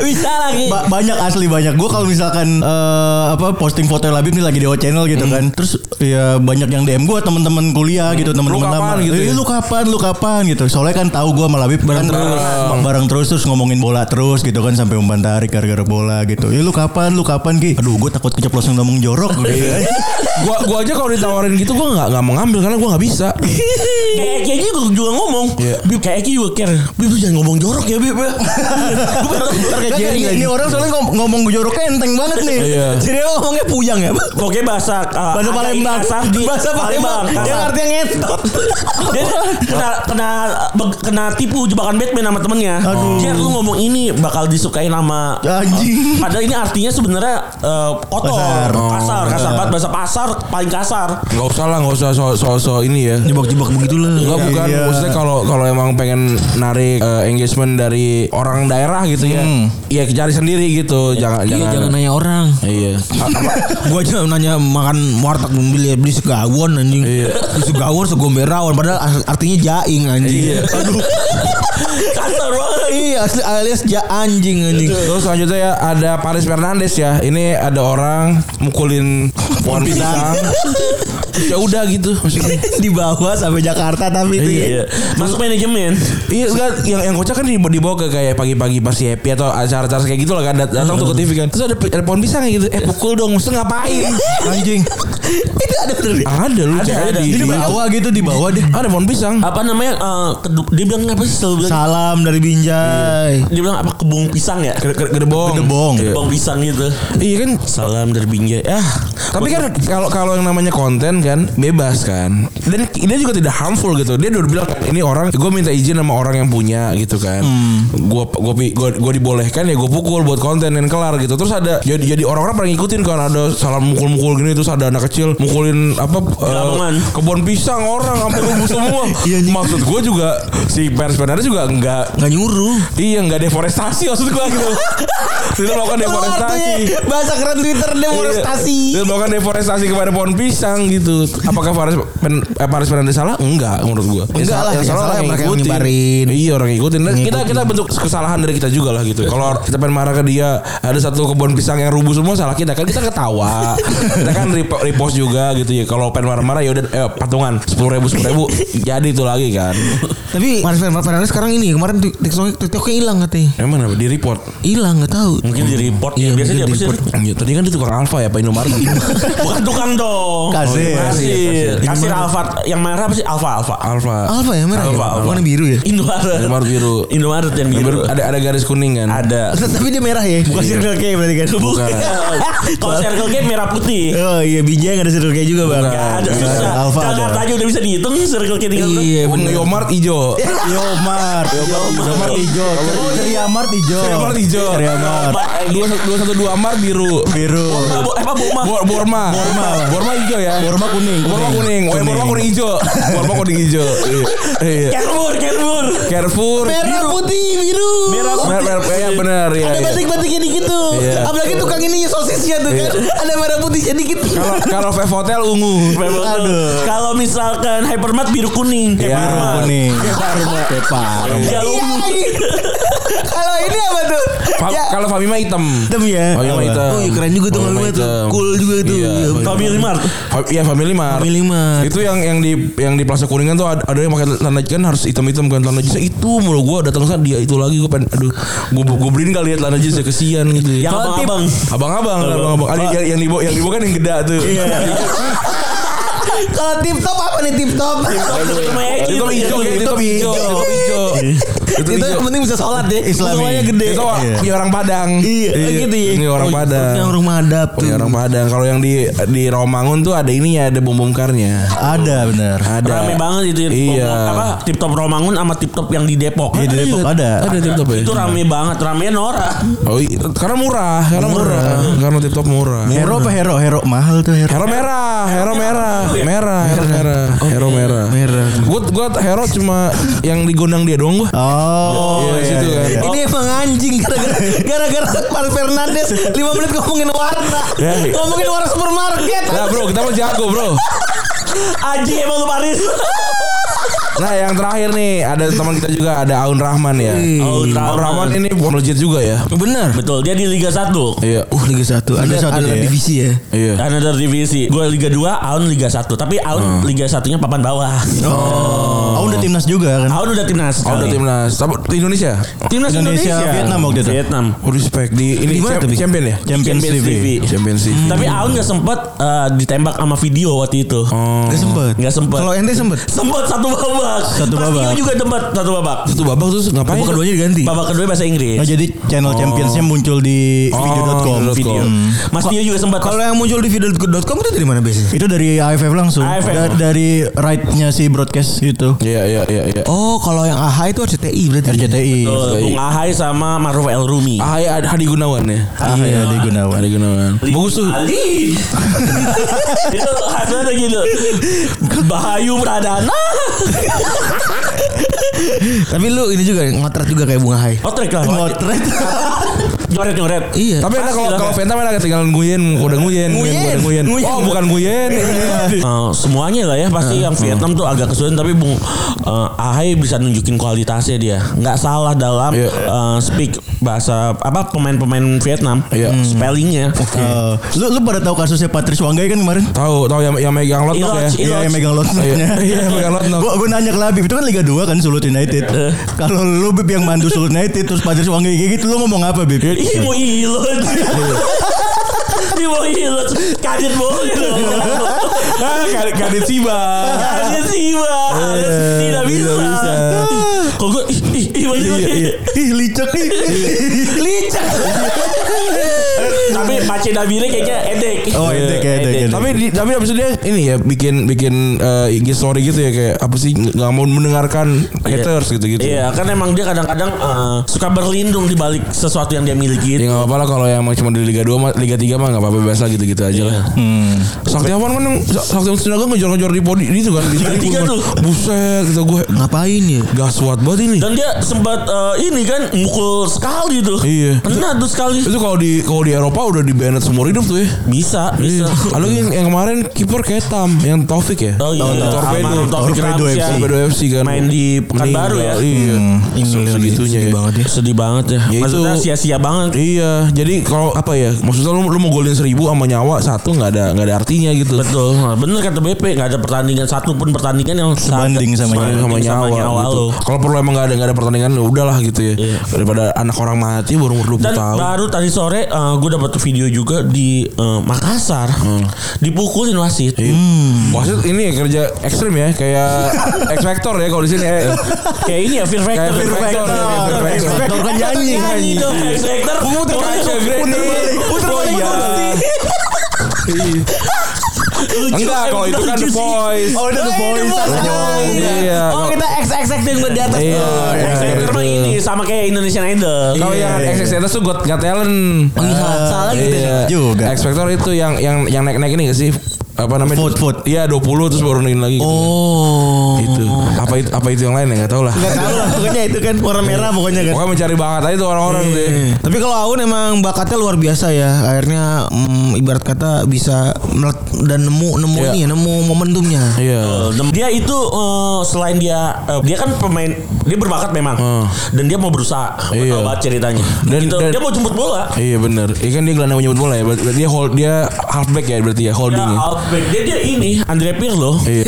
S6: Bisa lagi.
S3: Ba- banyak asli banyak gue kalau misalkan eh, apa posting foto Labib nih lagi di O channel gitu
S2: Hmm.
S3: kan terus ya banyak yang DM gue teman-teman kuliah gitu teman-teman
S2: Lu kapan
S3: lama
S2: gitu
S3: "Eh,
S2: ya?"
S3: lu kapan lu kapan gitu soalnya kan tahu gue sama Labib bareng terus bareng terus terus ngomongin bola terus gitu kan sampai umpan tarik gara-gara bola gitu ya lu kapan lu kapan ki aduh gue takut keceplosan ngomong jorok gitu
S2: Iya.
S3: kan.
S2: Gua gua aja kalau ditawarin gitu gua nggak nggak mau ngambil karena gua nggak bisa.
S4: Kayak Eki aja juga, juga ngomong.
S2: Iya.
S4: Bib kayak Eki juga care. Bib lu jangan ngomong jorok ya Bib. Gue
S3: Kan ini, ini orang soalnya ngom- ngomong joroknya enteng banget nih
S2: Iya.
S6: Jadi lo ngomongnya puyang ya?
S4: Pokoknya bahasa uh,
S6: Bahasa
S4: ada
S6: Palembang.
S4: kasar di-
S6: Bahasa Palembang. Iya.
S4: kasar.
S6: Yang artinya ngetot.
S4: Dia kena kena be- kena tipu jebakan Batman sama temennya. Jer lu ngomong ini bakal disukain sama
S3: Anjing.
S4: Padahal ini artinya sebenarnya eh,
S3: Kasar.
S4: kotor, kasar, kasar, banget. bahasa pasar paling kasar.
S2: Nggak usah lah, nggak usah so so, so ini ya.
S5: Jebak-jebak begitulah.
S2: Enggak bukan
S3: Iya.
S2: maksudnya kalau kalau emang pengen narik eh, engagement dari orang daerah gitu ya. Iya cari sendiri gitu. Jangan
S5: Iya
S2: jangan.
S5: jangan nanya orang.
S2: Iya. A- apa-
S5: Gua aja nanya makan warteg beli beli segawon anjing. Beli segawon segomberawan padahal as- artinya jaing anjing. Iya.
S4: Kasar banget.
S5: asli alias ja anjing anjing.
S2: Terus selanjutnya ya ada Paris Fernandes ya. Ini ada orang mukulin pohon pisang. Terus ya udah gitu maksudnya.
S5: Dibawa sampai Jakarta tapi itu ya.
S4: Iya. Masuk manajemen.
S2: Iya enggak yang yang kocak kan di- dibawa ke kayak pagi-pagi pas si happy atau acara-acara kayak gitu lah kan dat- datang tuh ke TV kan. Terus ada, pe- ada pohon pisang kayak gitu. Eh pukul dong, maksudnya ngapain?
S3: anjing
S5: Itu ada bener. ya?
S2: ada lu
S4: Ada,
S2: ada,
S4: ada.
S2: di
S3: jadi bawah gitu di bawah deh
S2: Ah, ada pohon pisang.
S4: Apa namanya? eh, kedu- dia bilang apa sih? Selalu bilang
S3: salam dari Binjai
S4: dia bilang apa kebung pisang ya?
S2: Gede- gede- Gedebong.
S3: Gedebong.
S2: Iya.
S4: Kebung pisang gitu.
S2: Iya kan
S4: Salam dari Binjai. Ah,
S2: Tapi kan kalau kalau yang namanya konten kan bebas kan. Dan ini juga tidak harmful gitu. Dia udah bilang kan ini orang gue minta izin sama orang yang punya gitu kan. Gue gue gue dibolehkan ya gue pukul buat konten yang kelar gitu. Terus ada jadi jadi orang-orang pada ngikutin kan ada salam mukul-mukul gini terus ada anak kecil mukulin apa eh,
S4: Lamongan.
S2: kebun pisang orang sampai rubuh semua. Maksud gue juga si pers sebenarnya juga enggak
S5: Nggak nyuruh.
S2: Iya nggak deforestasi maksud gua gitu. Tidak melakukan deforestasi.
S5: ya.
S2: Iya.
S5: Bahasa keren Twitter deforestasi.
S2: Dia melakukan deforestasi kepada pohon pisang gitu. Apakah Faris Pen, eh, Faris Fernandes salah? Enggak menurut gua. Yang
S5: Enggak
S2: salah-
S5: lah,
S2: yang salah orang yang
S5: mereka yang
S2: ngikutin.
S5: nyebarin.
S2: Iya orang yang ngikutin. Dan Kita kita bentuk kesalahan dari kita juga lah gitu. Kalau kita pengen marah ke dia ada satu kebun pisang yang rubuh semua salah kita kan kita ketawa. kita kan rip- repost juga gitu ya. Kalau pengen marah-marah ya udah eh, patungan sepuluh ribu sepuluh ribu jadi itu lagi kan.
S5: Tapi Maris Fernandes sekarang ini kemarin tik- TikTok TikToknya hilang katanya.
S2: Emang apa di report?
S5: Hilang nggak tahu.
S4: mungkin di report ya. Biasanya dia apa sih?
S2: Iya, tadi kan dia tukang alfa ya Pak Indomaret.
S4: Bukan tukang dong.
S3: Kasir.
S4: Kasir. Kasir Ah. Alfa yang merah apa sih? Alfa Alfa.
S2: alfa.
S5: Alfa ya merah.
S4: Alfa,
S5: ya?
S4: Alfa.
S5: Warna biru ya.
S4: Iya. Indomaret.
S2: Indomaret biru.
S4: Indomaret yang biru.
S2: Baru Ada ada garis kuning kan?
S4: Ada.
S5: Tapi dia merah ya.
S3: Iya.
S5: Bukan circle K berarti kan.
S4: Bukan. Kalau Circle K merah putih.
S5: Oh iya Binjai nggak ada circle K juga bang.
S4: Gak ada
S3: Bukan.
S4: susah.
S3: Alfa ada.
S4: Jakarta Iya, aja udah bisa dihitung Circle K tinggal.
S5: Iya
S2: Emang
S5: bener.
S2: Yomart ijo.
S3: Yomar Yomar hijau Ceria Mart hijau
S2: Ceria Mart hijau.
S3: Ceria Mart
S2: Dua dua satu dua Mart biru.
S3: biru
S4: Apa Eh, apa Boma?
S2: Bor- Borma. Borma. Borma ijo ya.
S3: Borma kuning
S2: Borma kuning. Oh, Borma kuning ijo. Borma kuning ijo. Iya. Iya.
S4: Kermur, kermur.
S2: Carrefour.
S5: Merah putih biru.
S4: Merah
S2: Mer- mer- ya benar ya.
S5: Ada
S2: ya.
S5: batik-batiknya dikit tuh.
S2: Iya.
S5: Apalagi tukang ini sosisnya tuh kan. Ada merah putihnya dikit.
S2: Kalau kalau Vev Hotel ungu.
S4: Memang tuh. Kalau misalkan Hypermart biru kuning,
S2: Ya,
S3: biru
S4: Hypermart.
S3: kuning
S5: Iya.
S4: Ya, ungu.
S5: Kalau ini apa tuh?
S2: Fa-
S5: Ya.
S2: Kalau Famima hitam.
S5: Hitam ya.
S2: Famima
S3: Apa?
S2: hitam.
S5: Oh iya keren juga tuh
S2: Famima
S5: Family tuh.
S2: hitam.
S5: Cool juga tuh.
S2: Iya,
S5: Iya,
S2: Family
S4: Family Mart.
S2: Fa- Iya Family Mart.
S5: Family Mart.
S2: Itu yang yang di yang di Plaza Kuningan tuh ada, ada yang pakai celana jeans kan harus hitam-hitam kan celana jeans itu mulu gua datang sana dia itu lagi gua pengen aduh gua gua beliin kali ya celana jeans ya kesian gitu.
S4: Yang
S2: Kalau tip-
S4: abang-abang.
S2: Abang-abang, abang-abang. Ada yang yang dibawa yang dibawa kan yang gede tuh.
S5: Iya. Kalau tip top apa nih tip top?
S4: Cuma ya,
S2: Itu
S4: gitu,
S2: hijau,
S4: gitu.
S2: itu hijau, itu hijau. Itu
S5: Iya, Itu Iya. yang
S2: hijau.
S5: penting bisa sholat deh.
S3: Islami.
S5: Semuanya gede.
S2: Itu punya orang Padang.
S5: Iya, gitu ya.
S2: Ini orang Padang.
S5: Yang rumah adab tuh.
S2: Punya orang Padang. Kalau yang di di Romangun tuh ada ininya, ada bom bongkarnya.
S3: ada bener
S2: Ada.
S4: Rame banget itu ya.
S2: Iya.
S4: Apa tip top Romangun sama tip top yang di Depok.
S3: Iya, di Depok ada.
S2: Ada tip top ya.
S4: Itu rame banget, rame Nora.
S2: Oh, iya. karena murah, karena murah, karena tip top murah.
S3: Oh, Hero apa hero? Hero mahal tuh hero.
S2: Hero merah, hero merah, merah, merah, hero merah, hero merah.
S5: merah.
S2: Gua gua hero cuma yang digondang dia doang gua.
S3: Oh,
S2: Iya, situ kan.
S6: Ini emang anjing gara-gara gara-gara Mar Fernandes 5 menit ngomongin warna.
S4: Ya.
S6: ngomongin warna supermarket.
S2: Nah iya. bro, kita mau jago bro.
S4: Anjing emang lu Paris.
S2: Nah yang terakhir nih ada teman kita juga ada Aun Rahman ya.
S4: Aun Rahman.
S2: Rahman ini bukan legit juga ya.
S5: Bener.
S4: Betul, dia di Liga 1.
S2: Iya.
S5: Uh Liga 1 ada
S3: Liga 1
S5: ada
S3: dia ya?
S5: divisi ya.
S2: Iya.
S4: Another divisi. Gue Liga 2, Aun Liga 1. Tapi Aun Liga 1-nya papan bawah.
S3: Oh, udah timnas juga kan?
S4: Aun udah timnas.
S2: Oh, udah
S4: sekali.
S2: timnas. Tapi di Indonesia.
S4: Timnas
S3: Indonesia,
S4: Indonesia.
S3: Vietnam waktu itu.
S4: Vietnam.
S2: Oh, respect di ini
S5: Di mana
S2: champ-
S5: tuh, Bi?
S2: champion ya?
S3: Champions
S4: Champions
S3: TV.
S4: TV.
S2: Champions League.
S4: Tapi Aun gak sempet eh, ditembak sama video waktu itu.
S2: Oh.
S5: Gak sempet.
S4: Gak sempet.
S5: Kalau ente sempet.
S4: Sempet satu babak.
S3: Satu
S4: Mas
S3: babak.
S4: Tio juga sempet satu babak.
S2: Itu babak terus ngapain?
S5: Apa keduanya diganti?
S4: Babak kedua bahasa Inggris. Oh,
S3: Oh, jadi channel championsnya muncul di video.com.
S4: Video. Mas Tio juga sempat
S5: Kalau yang muncul di video.com itu dari mana biasanya?
S3: Itu dari AFF langsung.
S4: AFF.
S3: Da- dari right-nya si broadcast gitu. itu.
S2: Iya, iya, iya, iya.
S5: Oh, kalau yang AHA itu RCTI berarti.
S3: RCTI.
S4: Betul, Bung Ahai sama Maruf El Rumi.
S2: Ah, iya, Hadi Gunawan ya.
S3: Ah, iya, di Gunawan.
S2: Hadi Gunawan. Bagus tuh.
S4: Ali. itu khasnya gitu. Bahayu Pradana.
S5: Tapi lu ini juga ngotret juga kayak Bunga Hai.
S4: Otrek lah.
S3: Motret.
S4: Nyoret nyoret.
S5: Iya.
S2: Tapi enak
S4: Pasti
S2: kalau
S4: lah.
S2: kalau Venta mana ketinggalan nguyen, udah nguyen,
S5: Nguyen.
S2: udah nguyen.
S5: Nguyen.
S2: Oh, bukan nguyen.
S4: Eh, semuanya lah ya
S2: Eh,
S4: pasti yang Vietnam tuh agak kesulitan tapi Bung eh, Ahai bisa nunjukin kualitasnya dia nggak salah dalam
S2: Iya.
S4: eh, speak bahasa apa pemain-pemain Vietnam
S2: Iya.
S4: spellingnya
S3: Eh, lu lu pada tahu kasusnya Patrice Wanggai kan kemarin?
S2: Tahu, tahu yang yang megang lot ya.
S4: Iloj,
S3: Iya,
S4: Iloj.
S3: yang megang
S2: Iya,
S3: lotnya.
S2: iya, megang lot
S3: Gua, gua nanya ke Labib itu kan Liga 2 kan Sulut United. Kalau lu Bib yang mandu Sulut United terus Patrice Wanggai kayak gitu lu ngomong apa Bib?
S4: Ih mau
S2: Iya.
S4: ilot Ih mau ilot Kaget boleh dong
S2: Ah, Kadit Siba. Eh,
S4: Kaget sih Bang. Tidak bisa
S2: bisa. Iya,
S4: Kok gue Ih ih ih mau ilot.
S3: Ih licek.
S4: Licak Tapi Pace Dabire kayaknya edek
S3: Oh, edek, edek, edek.
S2: Tapi di, tapi abis itu dia ini ya bikin bikin eh, IG story gitu ya kayak apa sih nggak mau mendengarkan haters gitu-gitu.
S4: Iya kan emang dia kadang-kadang eh, Suka berlindung di balik sesuatu yang dia miliki
S2: Ya nggak apa-apa lah kalau yang emang cuma di Liga 2 mah Liga 3 mah nggak apa-apa bebas lah gitu-gitu aja
S4: Iya.
S2: lah.
S4: Hmm.
S2: Saktiawan kan yang Saktiawan Sinaga ngejar-ngejar di podi itu kan di
S4: tiga
S2: tribun kan.
S4: tuh.
S2: Buset gitu gue
S5: Ngapain ya?
S3: Iya.
S2: gaswat banget ini.
S4: Dan dia sempat eh, ini kan Mukul sekali tuh
S2: Iya.
S4: Kena tuh sekali
S2: Itu kalau di kalau di Eropa udah di banned seumur hidup tuh ya.
S4: Bisa Bisa
S2: Lalu yang, yang kemarin kiper Ketam yang Taufik ya.
S4: Oh iya,
S2: Torpedo.
S4: Almarhum Taufik
S3: Torpedo
S4: Ramsyah.
S3: FC.
S2: Torpedo FC kan.
S4: Main di Pekanbaru
S2: Meninggal,
S4: ya.
S2: Iya.
S5: Segitunya
S2: Segitunya ya.
S5: banget ya.
S4: Oh, Sedih banget
S2: Ya
S4: ya.
S2: itu-
S4: Maksudnya sia-sia banget.
S2: Iya, jadi kalau apa ya? Maksudnya lu, lu mau golin seribu sama nyawa satu nggak ada nggak ada artinya gitu.
S4: Betul. Nah, Bener kata BP nggak ada pertandingan satu pun pertandingan yang
S3: Sebanding sama
S2: Main
S4: nyawa.
S2: sama nyawa, gitu.
S4: lu.
S2: Kalau perlu emang nggak ada nggak ada pertandingan ya udahlah gitu ya.
S4: Iya.
S2: Daripada anak orang mati baru umur 20
S4: Dan
S2: tahun.
S4: baru tadi sore gue dapat video juga di eh, Makassar
S2: Hmm.
S4: dipukulin wasit.
S2: Wasit ini ya kerja ekstrim ya kayak X Factor ya kalau di sini ya.
S4: Kayak ini ya Fear Factor.
S2: Kayak Fear Factor, kayak Fear Factor.
S4: Factor kan nyanyi. Nyanyi dong, Fear Factor.
S2: Puter balik ke Granny.
S4: Puter balik
S2: Oh,
S4: ke
S2: iya.
S4: Lucu,
S2: Enggak kalau
S4: emang
S2: itu kan
S4: lucu
S2: The
S4: sih.
S2: Voice.
S3: Oh, itu The Voice.
S2: Iya.
S6: Oh kita XX yang di atas.
S2: Iya.
S4: Fear Factor mah ini sama kayak Indonesian Idol.
S2: Kalau yang
S3: Iya.
S2: X Factor tuh got got talent.
S6: Oh, iya, salah gitu.
S2: Iya.
S3: Eh, ya. Juga.
S2: X Factor itu yang yang yang naik-naik ini gak sih? Apa namanya?
S3: Vote, vote.
S2: Iya, 20 terus baru naikin lagi. gitu.
S5: Oh.
S2: Itu. Apa itu apa itu yang lain ya enggak tahu lah.
S6: Gak tau lah pokoknya itu kan warna merah pokoknya kan.
S2: Pokoknya mencari banget aja tuh orang-orang
S5: Iya,
S2: tuh. ya.
S5: Eh. Tapi kalau Aun emang bakatnya luar biasa ya. Akhirnya mm, ibarat kata bisa melet dan nemu nemu
S2: Iya.
S5: ini ya, nemu momentumnya.
S2: Iya.
S4: Dem- Dia itu eh, selain dia eh, dia kan pemain dia berbakat memang
S2: Hmm.
S4: dan dia mau berusaha
S2: Iya.
S4: Tahu banget ceritanya.
S2: Dan-
S4: Gitu.
S2: dan-
S4: dia mau jemput bola.
S2: Iya benar. Iya kan dia gelandang menyebut bola ya. Berarti dia hold dia halfback ya berarti ya
S4: Dia
S2: holding ya.
S4: outback. Dia dia ini Andre Pirlo.
S2: Iya.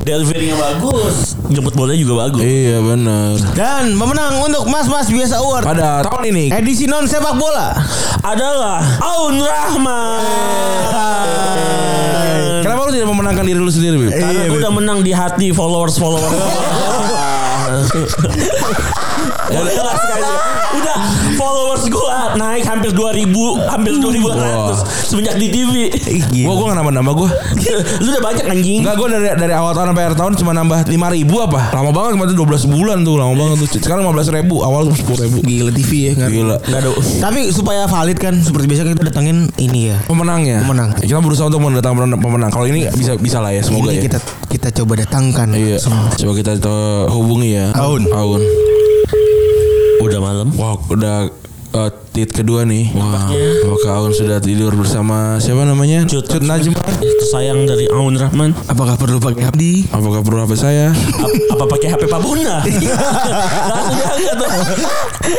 S4: Deliverynya bagus, jemput bolanya juga bagus.
S2: Iya benar.
S5: Dan pemenang untuk Mas Mas Biasa Award
S2: Pada tahun ini
S5: edisi non sepak bola.
S4: Adalah Aun Rahman.
S5: Iya.
S2: Kenapa lu tidak memenangkan diri lu sendiri, Bib?
S4: Karena gua udah menang di hati followers followers. Udah lah sekali. Udah followers gue naik hampir 2000, hampir 2800 semenjak di TV.
S2: Gua gua nggak nambah-nambah gua.
S4: Lu udah banyak anjing.
S2: Enggak gua dari dari awal tahun sampai akhir tahun cuma nambah 5 ribu apa? Lama banget kemarin 12 bulan tuh, lama banget tuh. Sekarang 15 ribu, awal 10 ribu.
S5: Gila TV ya nggak-
S6: Iya.
S2: Gila.
S4: Enggak ada.
S5: Tapi supaya valid kan seperti biasa kita datengin ini ya.
S2: Pemenangnya.
S5: Pemenang.
S2: Ya, Kita berusaha untuk mendatangkan pemenang- pemenang. Kalau ini bisa bisa lah ya, semoga
S5: Ini
S2: ya.
S5: kita kita coba datangkan.
S2: Iya. Coba kita to- hubungi ya.
S3: Aun.
S2: Aun.
S4: Udah malam.
S2: Wah, udah eh, tit kedua nih. Wah, apakah Aun sudah tidur bersama siapa namanya?
S4: Cut.
S2: Cut Najma.
S4: Sayang dari Aun Rahman.
S5: Apakah perlu pakai abdi?
S2: Apakah perlu HP saya?
S4: Apa, apa pakai HP Pak Bona? Langsung diangkat tuh.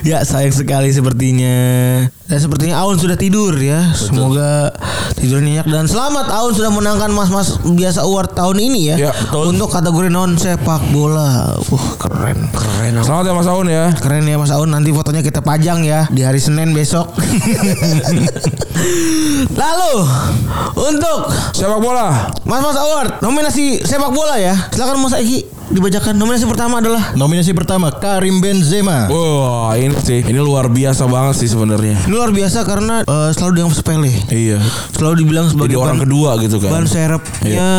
S5: Ya sayang sekali sepertinya Dan sepertinya Aun sudah tidur ya Semoga tidur nyenyak Dan selamat Aun sudah menangkan mas-mas biasa award tahun ini
S2: Ya,
S5: ya,
S2: betul.
S5: Untuk kategori non sepak bola Wah keren Keren
S2: Selamat ya Mas Aun ya.
S5: Keren ya Mas Aun Nanti fotonya kita pajang ya Di hari Senin besok Lalu Untuk
S2: Sepak bola.
S5: Mas-mas award Nominasi sepak bola ya Silakan Mas Eki Dibacakan Nominasi pertama adalah
S3: Nominasi pertama Karim Benzema.
S2: Wah, ini sih. Ini luar biasa banget sih sebenarnya.
S5: ini luar biasa karena eh, selalu dianggap sepele
S2: Iya.
S5: Selalu dibilang
S2: Jadi
S5: sebagai
S2: orang
S5: ban-
S2: kedua gitu
S5: ban
S2: kan.
S5: serepnya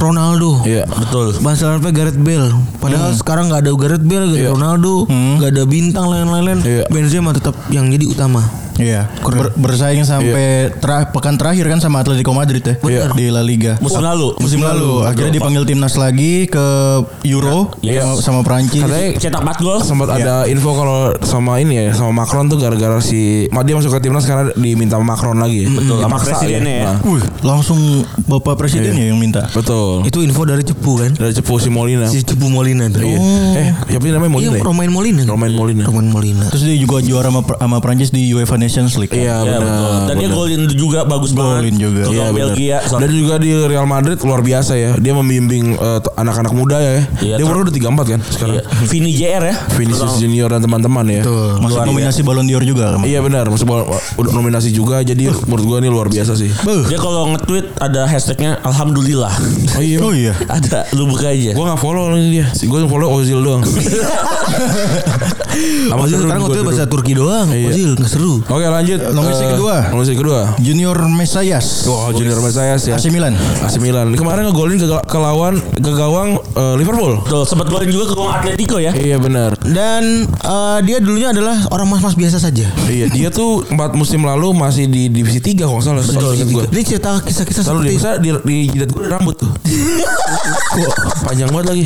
S5: Ronaldo.
S2: Iya, betul.
S5: Ban serepnya Gareth Bale. Padahal sekarang nggak ada Gareth Bale, nggak ada
S2: Iya.
S5: Ronaldo, nggak ada bintang lain-lain.
S2: Iya. Hmm.
S5: Benzema tetap yang jadi utama.
S3: Iya. Ber- bersaing sampai tera- pekan terakhir kan sama Atletico Madrid ya
S2: Bener.
S3: di La Liga.
S4: Musim lalu.
S3: Musim lalu akhirnya dipanggil timnas lagi ke Euro
S4: Iya.
S3: sama Perancis.
S2: Katanya
S4: Cetak 4 gol.
S2: sempat ada info kalau sama ini ya sama Macron tuh gara-gara si dia masuk ke timnas karena diminta Macron lagi ya. Betul,
S4: sama presidennya ya.
S3: Wih, langsung Bapak Presiden ya yang minta.
S2: betul.
S5: Itu info dari Cepu kan?
S2: Dari Cepu si Molina.
S5: Si Cepu Molina. tuh.
S2: Iya. Eh, siapa namanya
S5: Iya,
S2: Molina? ya?
S5: Romain Molina.
S2: Romain Molina.
S5: Romain Molina.
S3: Terus dia juga juara sama, sama Prancis di UEFA Nations League.
S2: Iya,
S4: Ya,
S2: benar.
S4: betul. Dan dia
S2: benar.
S4: golin juga bagus banget.
S3: Golin juga.
S4: Iya,
S2: Iya benar.
S4: Belgia.
S2: Dan juga di Real Madrid luar biasa ya. Dia membimbing eh, t- anak-anak muda ya.
S4: Iya,
S2: dia
S4: ter-
S2: umurnya udah 34 kan sekarang.
S4: Vini JR ya.
S2: Vinicius Junior dan teman-teman ya.
S3: Masuk nominasi Ballon d'Or juga.
S2: Iya benar, masuk bola- udah nominasi juga jadi menurut gua ini luar biasa sih.
S4: Dia kalau nge-tweet ada hashtagnya Alhamdulillah.
S2: Oh iya.
S3: Oh iya.
S4: ada, lu buka aja.
S2: Gua gak follow lagi dia. Si gua follow Ozil doang. Sama
S5: Ozil
S2: Giroud
S5: sekarang
S2: juga,
S5: waktu
S2: Giroud.
S5: bahasa Turki doang.
S2: Iya.
S5: Ozil nggak seru.
S2: Oke, lanjut.
S3: Nominasi
S2: Eh,
S3: kedua.
S2: Nominasi kedua.
S3: Junior Mesias.
S2: Wah, Oh, junior saya sih.
S3: AC Milan.
S2: AC Milan. Kemarin ngegolin ke, ke lawan ke gawang eh, Liverpool.
S4: Betul, sempat golin juga ke gawang Atletico ya.
S2: Iya benar.
S5: Dan eh, dia dulunya adalah orang mas-mas biasa saja.
S2: Iya, dia tuh empat musim lalu masih di divisi 3 kalau nggak salah. Betul, gua.
S5: Dia cerita kisah-kisah
S2: Lalu dia
S5: seperti
S2: bisa di, di jidat gue rambut tuh. Kok panjang banget lagi.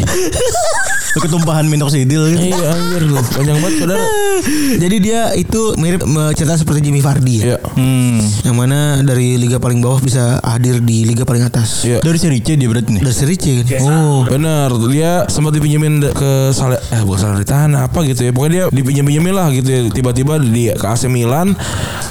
S3: Itu ketumpahan minoxidil gitu.
S2: Iya, anjir lu. Panjang banget saudara.
S5: Jadi dia itu mirip eh, cerita seperti Jimmy Vardy ya.
S2: Iya.
S3: Hmm.
S5: Yang mana dari liga paling bawah bisa hadir di liga paling atas.
S2: Iya.
S3: Dari seri C dia berarti nih.
S5: Dari seri C kan? Oh.
S2: Bener Dia sempat dipinjemin de- ke Sale Eh bukan Salernitana Apa gitu ya Pokoknya dia dipinjem-pinjemin lah gitu ya Tiba-tiba di ke AC Milan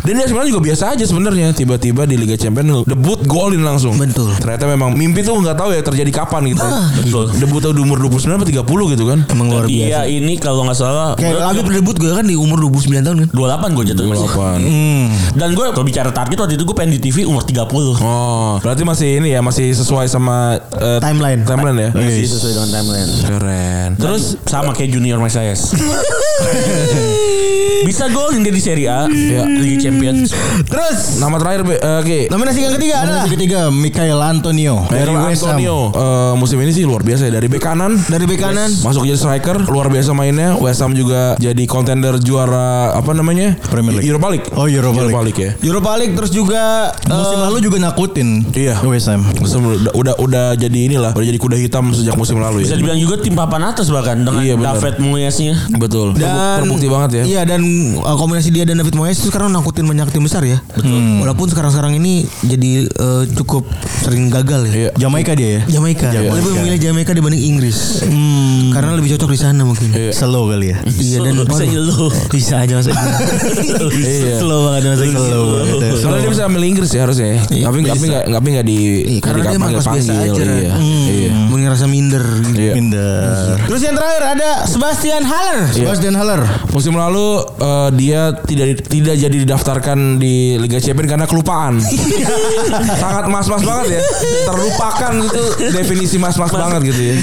S2: Dan dia AC Milan juga biasa aja sebenarnya Tiba-tiba di Liga Champions Debut golin langsung
S5: Betul. Ah, iya.
S2: Ternyata memang Mimpi tuh nggak tahu ya terjadi kapan gitu
S4: Betul.
S2: Debut tuh di umur 29 atau 30 gitu kan
S5: Emang luar biasa.
S4: Dia Iya, ini kalau nggak salah
S5: Kayak lagu debut gue kan di umur 29 tahun kan?
S4: 28 gue jatuh.
S2: 28
S4: Dan gue kalau bicara target waktu itu gue pengen di TV umur 30.
S2: Oh, berarti masih ini ya, masih sesuai sama eh,
S5: Timeline.
S2: Timeline ya.
S4: Masih sesuai dengan timeline.
S2: Keren.
S4: Terus sama kayak Junior Mesias. Bisa golin dia di Serie A,
S2: Iya.
S4: Liga Champions.
S5: Terus
S2: Nama terakhir Be, eh, Ki.
S5: nominasi yang ketiga adalah
S3: Nominasi ketiga Michael Antonio dari
S2: Daerah
S3: West Ham.
S2: Antonio Eh, musim ini sih luar biasa ya dari bek kanan
S5: dari bek kanan
S2: masuk jadi striker luar biasa mainnya West Ham juga jadi kontender juara apa namanya
S3: Premier League.
S2: Europa League
S3: Oh, Europa League.
S2: ya
S5: Europa League terus juga
S3: Musim lalu juga nakutin.
S2: Iya.
S3: West Ham.
S2: Musim- udah, udah udah jadi inilah udah jadi kuda hitam sejak musim lalu
S4: Bisa
S2: ya
S4: dibilang juga tim papan atas bahkan dengan
S2: Iya, benar.
S4: David Moyesnya.
S2: betul
S5: dan
S2: terbukti banget ya
S5: Iya dan uh, kombinasi dia dan David Moyes itu sekarang nangkutin banyak tim besar ya. Betul. Walaupun sekarang-sekarang ini jadi uh, cukup sering gagal ya.
S2: Iya.
S3: Jamaika dia ya.
S5: Jamaika. Lebih memilih Jamaika dibanding Inggris. Karena lebih cocok di sana mungkin.
S2: Hmm. Iya.
S3: Slow kali ya.
S5: Iya dan
S4: Bisa nyeluh.
S5: bisa aja masuk.
S2: Iya.
S5: Slow banget Iya. dia masuk.
S3: Slow. gitu.
S2: Soalnya dia bisa ambil Inggris ya harusnya ya. Tapi tapi nggak tapi nggak di
S5: Iya,
S2: nggak
S5: karena dia
S2: dipanggil-
S5: markas biasa
S2: panggil,
S5: aja.
S2: Iya.
S5: Hmm.
S2: Iya.
S5: Mengingat ngerasa minder gitu.
S2: Iya.
S3: Minder.
S5: Terus yang terakhir ada Sebastian Haller.
S3: Sebastian Haller.
S2: Musim lalu eh, dia tidak tidak jadi didaftarkan di Liga Champions karena kelupaan. Sangat mas-mas banget ya. Terlupakan itu definisi mas-mas banget gitu ya.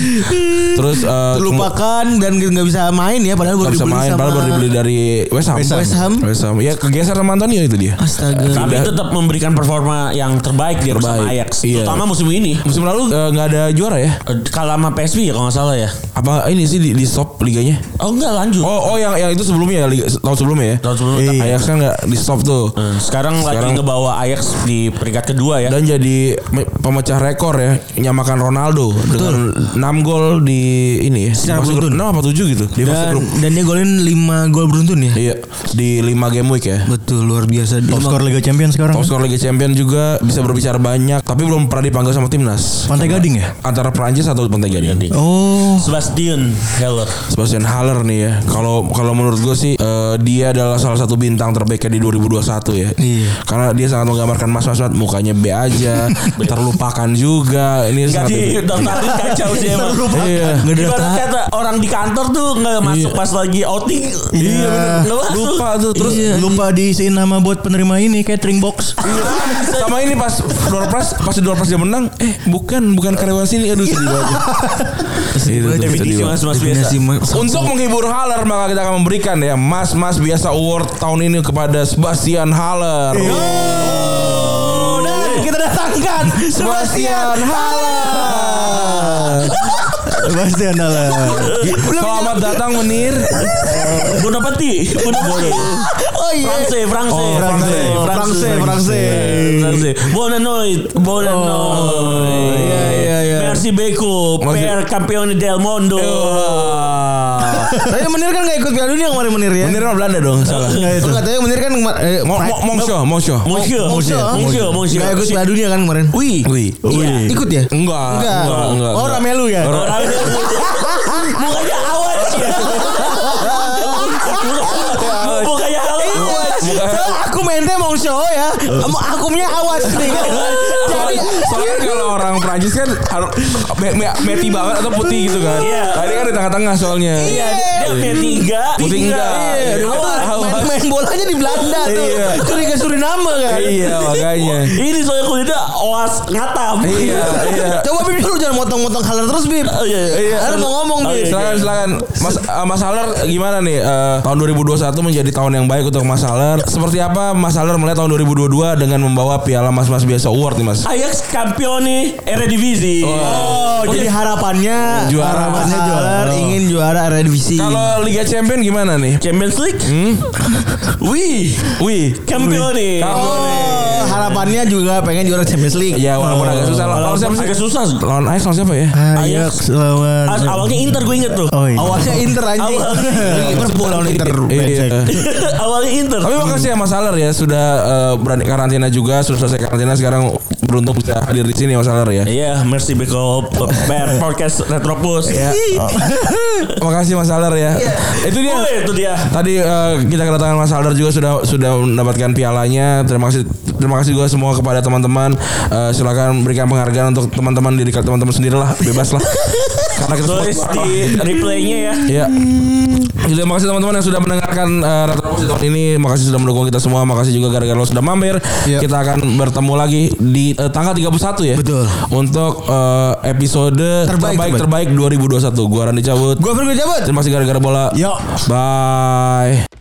S2: Terus eh,
S5: Lupakan dan nggak bisa main ya padahal
S2: nggak
S5: baru
S2: bisa
S5: dibeli
S2: main,
S5: sama
S2: padahal baru dibeli dari West Ham.
S5: West Ham.
S2: West Ham. Ya kegeser sama Antonio itu dia.
S5: Astaga.
S4: Tapi tetap memberikan performa yang terbaik dia bersama
S2: Terbaik.
S4: Ajax.
S2: Iya.
S4: Terutama musim ini.
S2: Musim lalu eh, nggak ada juara ya?
S4: Eh, Kalah sama PSV ya kalau nggak salah ya.
S2: Apa ini sih di, di stop liganya?
S4: Oh enggak lanjut.
S2: Oh, oh yang yang itu sebelumnya ya, liga, tahun sebelumnya ya.
S4: Tahun sebelumnya.
S2: Iya. Ajax kan nggak di stop tuh.
S5: Hmm.
S4: Eh, Sekarang,
S2: Sekarang-
S4: lagi ngebawa Ajax di peringkat kedua ya.
S2: dan jadi me- pemecah rekor ya nyamakan Ronaldo dengan 6 gol di ini ya
S5: Secara
S2: masuk grup
S5: beruntun.
S2: 6 apa 7 gitu dia masuk
S5: Dan,
S2: grup
S5: dan dia golin 5 gol beruntun ya.
S2: iya di 5 game week ya
S5: Betul luar biasa. Dia
S3: Top
S5: mah-
S3: skor Liga Champions sekarang.
S2: top skor Liga Champion juga bisa berbicara banyak tapi belum pernah dipanggil sama timnas
S3: Pantai Gading ya?
S2: antara Perancis atau Pantai Gading
S3: Oh.
S4: Sebastian Heller.
S2: Sebastian Haller nih ya. Kalau kalau menurut gue sih eh, dia adalah salah satu bintang terbaiknya di 2021 ya.
S3: Iya.
S2: Karena dia sangat menggambarkan Mas Mas Mas, mukanya B aja, terlupakan juga. Ini sangat
S4: Enggak di daftarin kacau dia emang.
S2: Iya.
S4: Ibarat kata orang di kantor tuh nggak masuk pas lagi outing.
S3: Iya.
S4: bener. Nggak masuk.
S2: Lupa tuh terus
S3: lupa diisiin nama buat penerima ini catering box.
S2: sama ini pas door prize pas door prize dia menang eh bukan bukan karyawan sini aduh sedih banget Itu tuh, sedih
S4: Definisi
S2: banget.
S4: mas-mas biasa.
S5: Definisi mas-
S2: untuk menghibur Haller maka kita akan memberikan ya Mas Mas biasa award tahun ini kepada Sebastian Haller.
S6: Dan kita datangkan Sebastian
S2: Haller.
S3: Sebastian Haller.
S2: Selamat datang Menir.
S4: Bonapati. Bonapati.
S6: Oh iya.
S4: France, France,
S2: Oh, France.
S4: France, France, France. Buona notte, buona notte.
S5: iya, iya, iya.
S4: Merci Beko,
S2: Masih-
S4: per campione del mondo.
S2: Iya.
S5: Tapi Menir kan gak ikut Piala Dunia kemarin Menir ya.
S2: Menir mah Belanda dong salah.
S5: Tuh katanya Menir kan kemarin eh,
S2: Mo- mo- Mongsho, Mongsho.
S4: Monsieur, monsieur, monsieur, monsieur.
S5: nggak ikut Piala Dunia kan kemarin.
S2: Wih. Wih.
S4: Iya.
S5: Ikut ya?
S2: Enggak.
S5: Enggak. Oh Ramelu ya.
S4: Orang itu mukanya awan ya. Mukanya awan.
S5: Soalnya aku mainnya mau show ya. Kamu akumnya awas nih.
S2: Soalnya, soalnya kalau orang Prancis kan harus me- me- meti banget atau putih gitu kan.
S4: Iya.
S2: Tadi kan di tengah-tengah soalnya.
S4: Iya, dia P3.
S2: Putih enggak.
S5: Iya,
S2: Awas,
S5: main,
S2: awas.
S5: main bolanya di Belanda tuh.
S2: Iya.
S5: Curiga Suriname kan.
S2: Iya makanya.
S4: Ini soalnya kulitnya oas ngatam.
S2: Iya, iya.
S5: Coba Bib lu jangan motong-motong haler terus Bib.
S4: Oh, iya, iya.
S5: Iya. mau ngomong
S4: Oh,
S5: Bib.
S4: iya.
S2: Silakan silakan Mas eh, Mas Haller gimana nih eh, tahun 2021 menjadi tahun yang baik untuk Mas Haller. Seperti apa Mas Haller melihat tahun 2022 dengan membawa piala Mas Mas biasa award nih Mas?
S4: Ajax campione Eredivisie.
S5: Oh, jadi harapannya
S2: Juara.
S5: harapannya
S2: Oh.
S5: juara ingin juara Eredivisie.
S2: Kalau Liga Champion gimana nih?
S4: Champions League. Wih,
S2: Wih,
S4: campione.
S2: Iya.
S5: Oh, harapannya juga pengen juara Champions League.
S2: Ya walaupun agak susah lawan siapa sih?
S4: Agak susah.
S2: Lawan Ajax lawan siapa ya?
S3: Ajax lawan.
S4: As- Awalnya Inter gue inget tuh.
S3: Oh iya.
S5: Awalnya Inter anjing.
S4: Awalnya-
S5: Liverpool lawan Inter.
S2: Iya.
S4: Awalnya Inter.
S2: Tapi makasih ya Mas Haller ya sudah eh, berani karantina juga sudah selesai karantina sekarang beruntung bisa hadir di sini Mas Haller ya.
S4: Iya, merci Beko Bear Podcast Retropus. Iya.
S2: Makasih Mas Haller ya. Itu dia.
S4: Oh, itu dia.
S2: Tadi eh, kita kedatangan Mas Aldar juga sudah sudah mendapatkan pialanya. Terima kasih terima kasih juga semua kepada teman-teman. Eh, silakan berikan penghargaan untuk teman-teman diri teman-teman sendirilah, bebas lah. Karena kita semua
S4: Tulis di replaynya ya.
S2: Ya. Jadi terima kasih Gitu, teman-teman yang sudah mendengarkan uh, Retropus di tahun ini. Makasih sudah mendukung kita semua. Makasih juga gara-gara lo sudah mampir.
S5: Iya.
S2: Kita akan bertemu lagi di eh, tanggal 31 ya.
S5: Betul.
S2: Untuk eh, episode
S5: Terbaik,
S2: terbaik terbaik, 2021. Gua Randy cabut.
S5: Gua pergi cabut.
S2: Terima kasih gara-gara bola.
S3: Yo.
S2: Bye.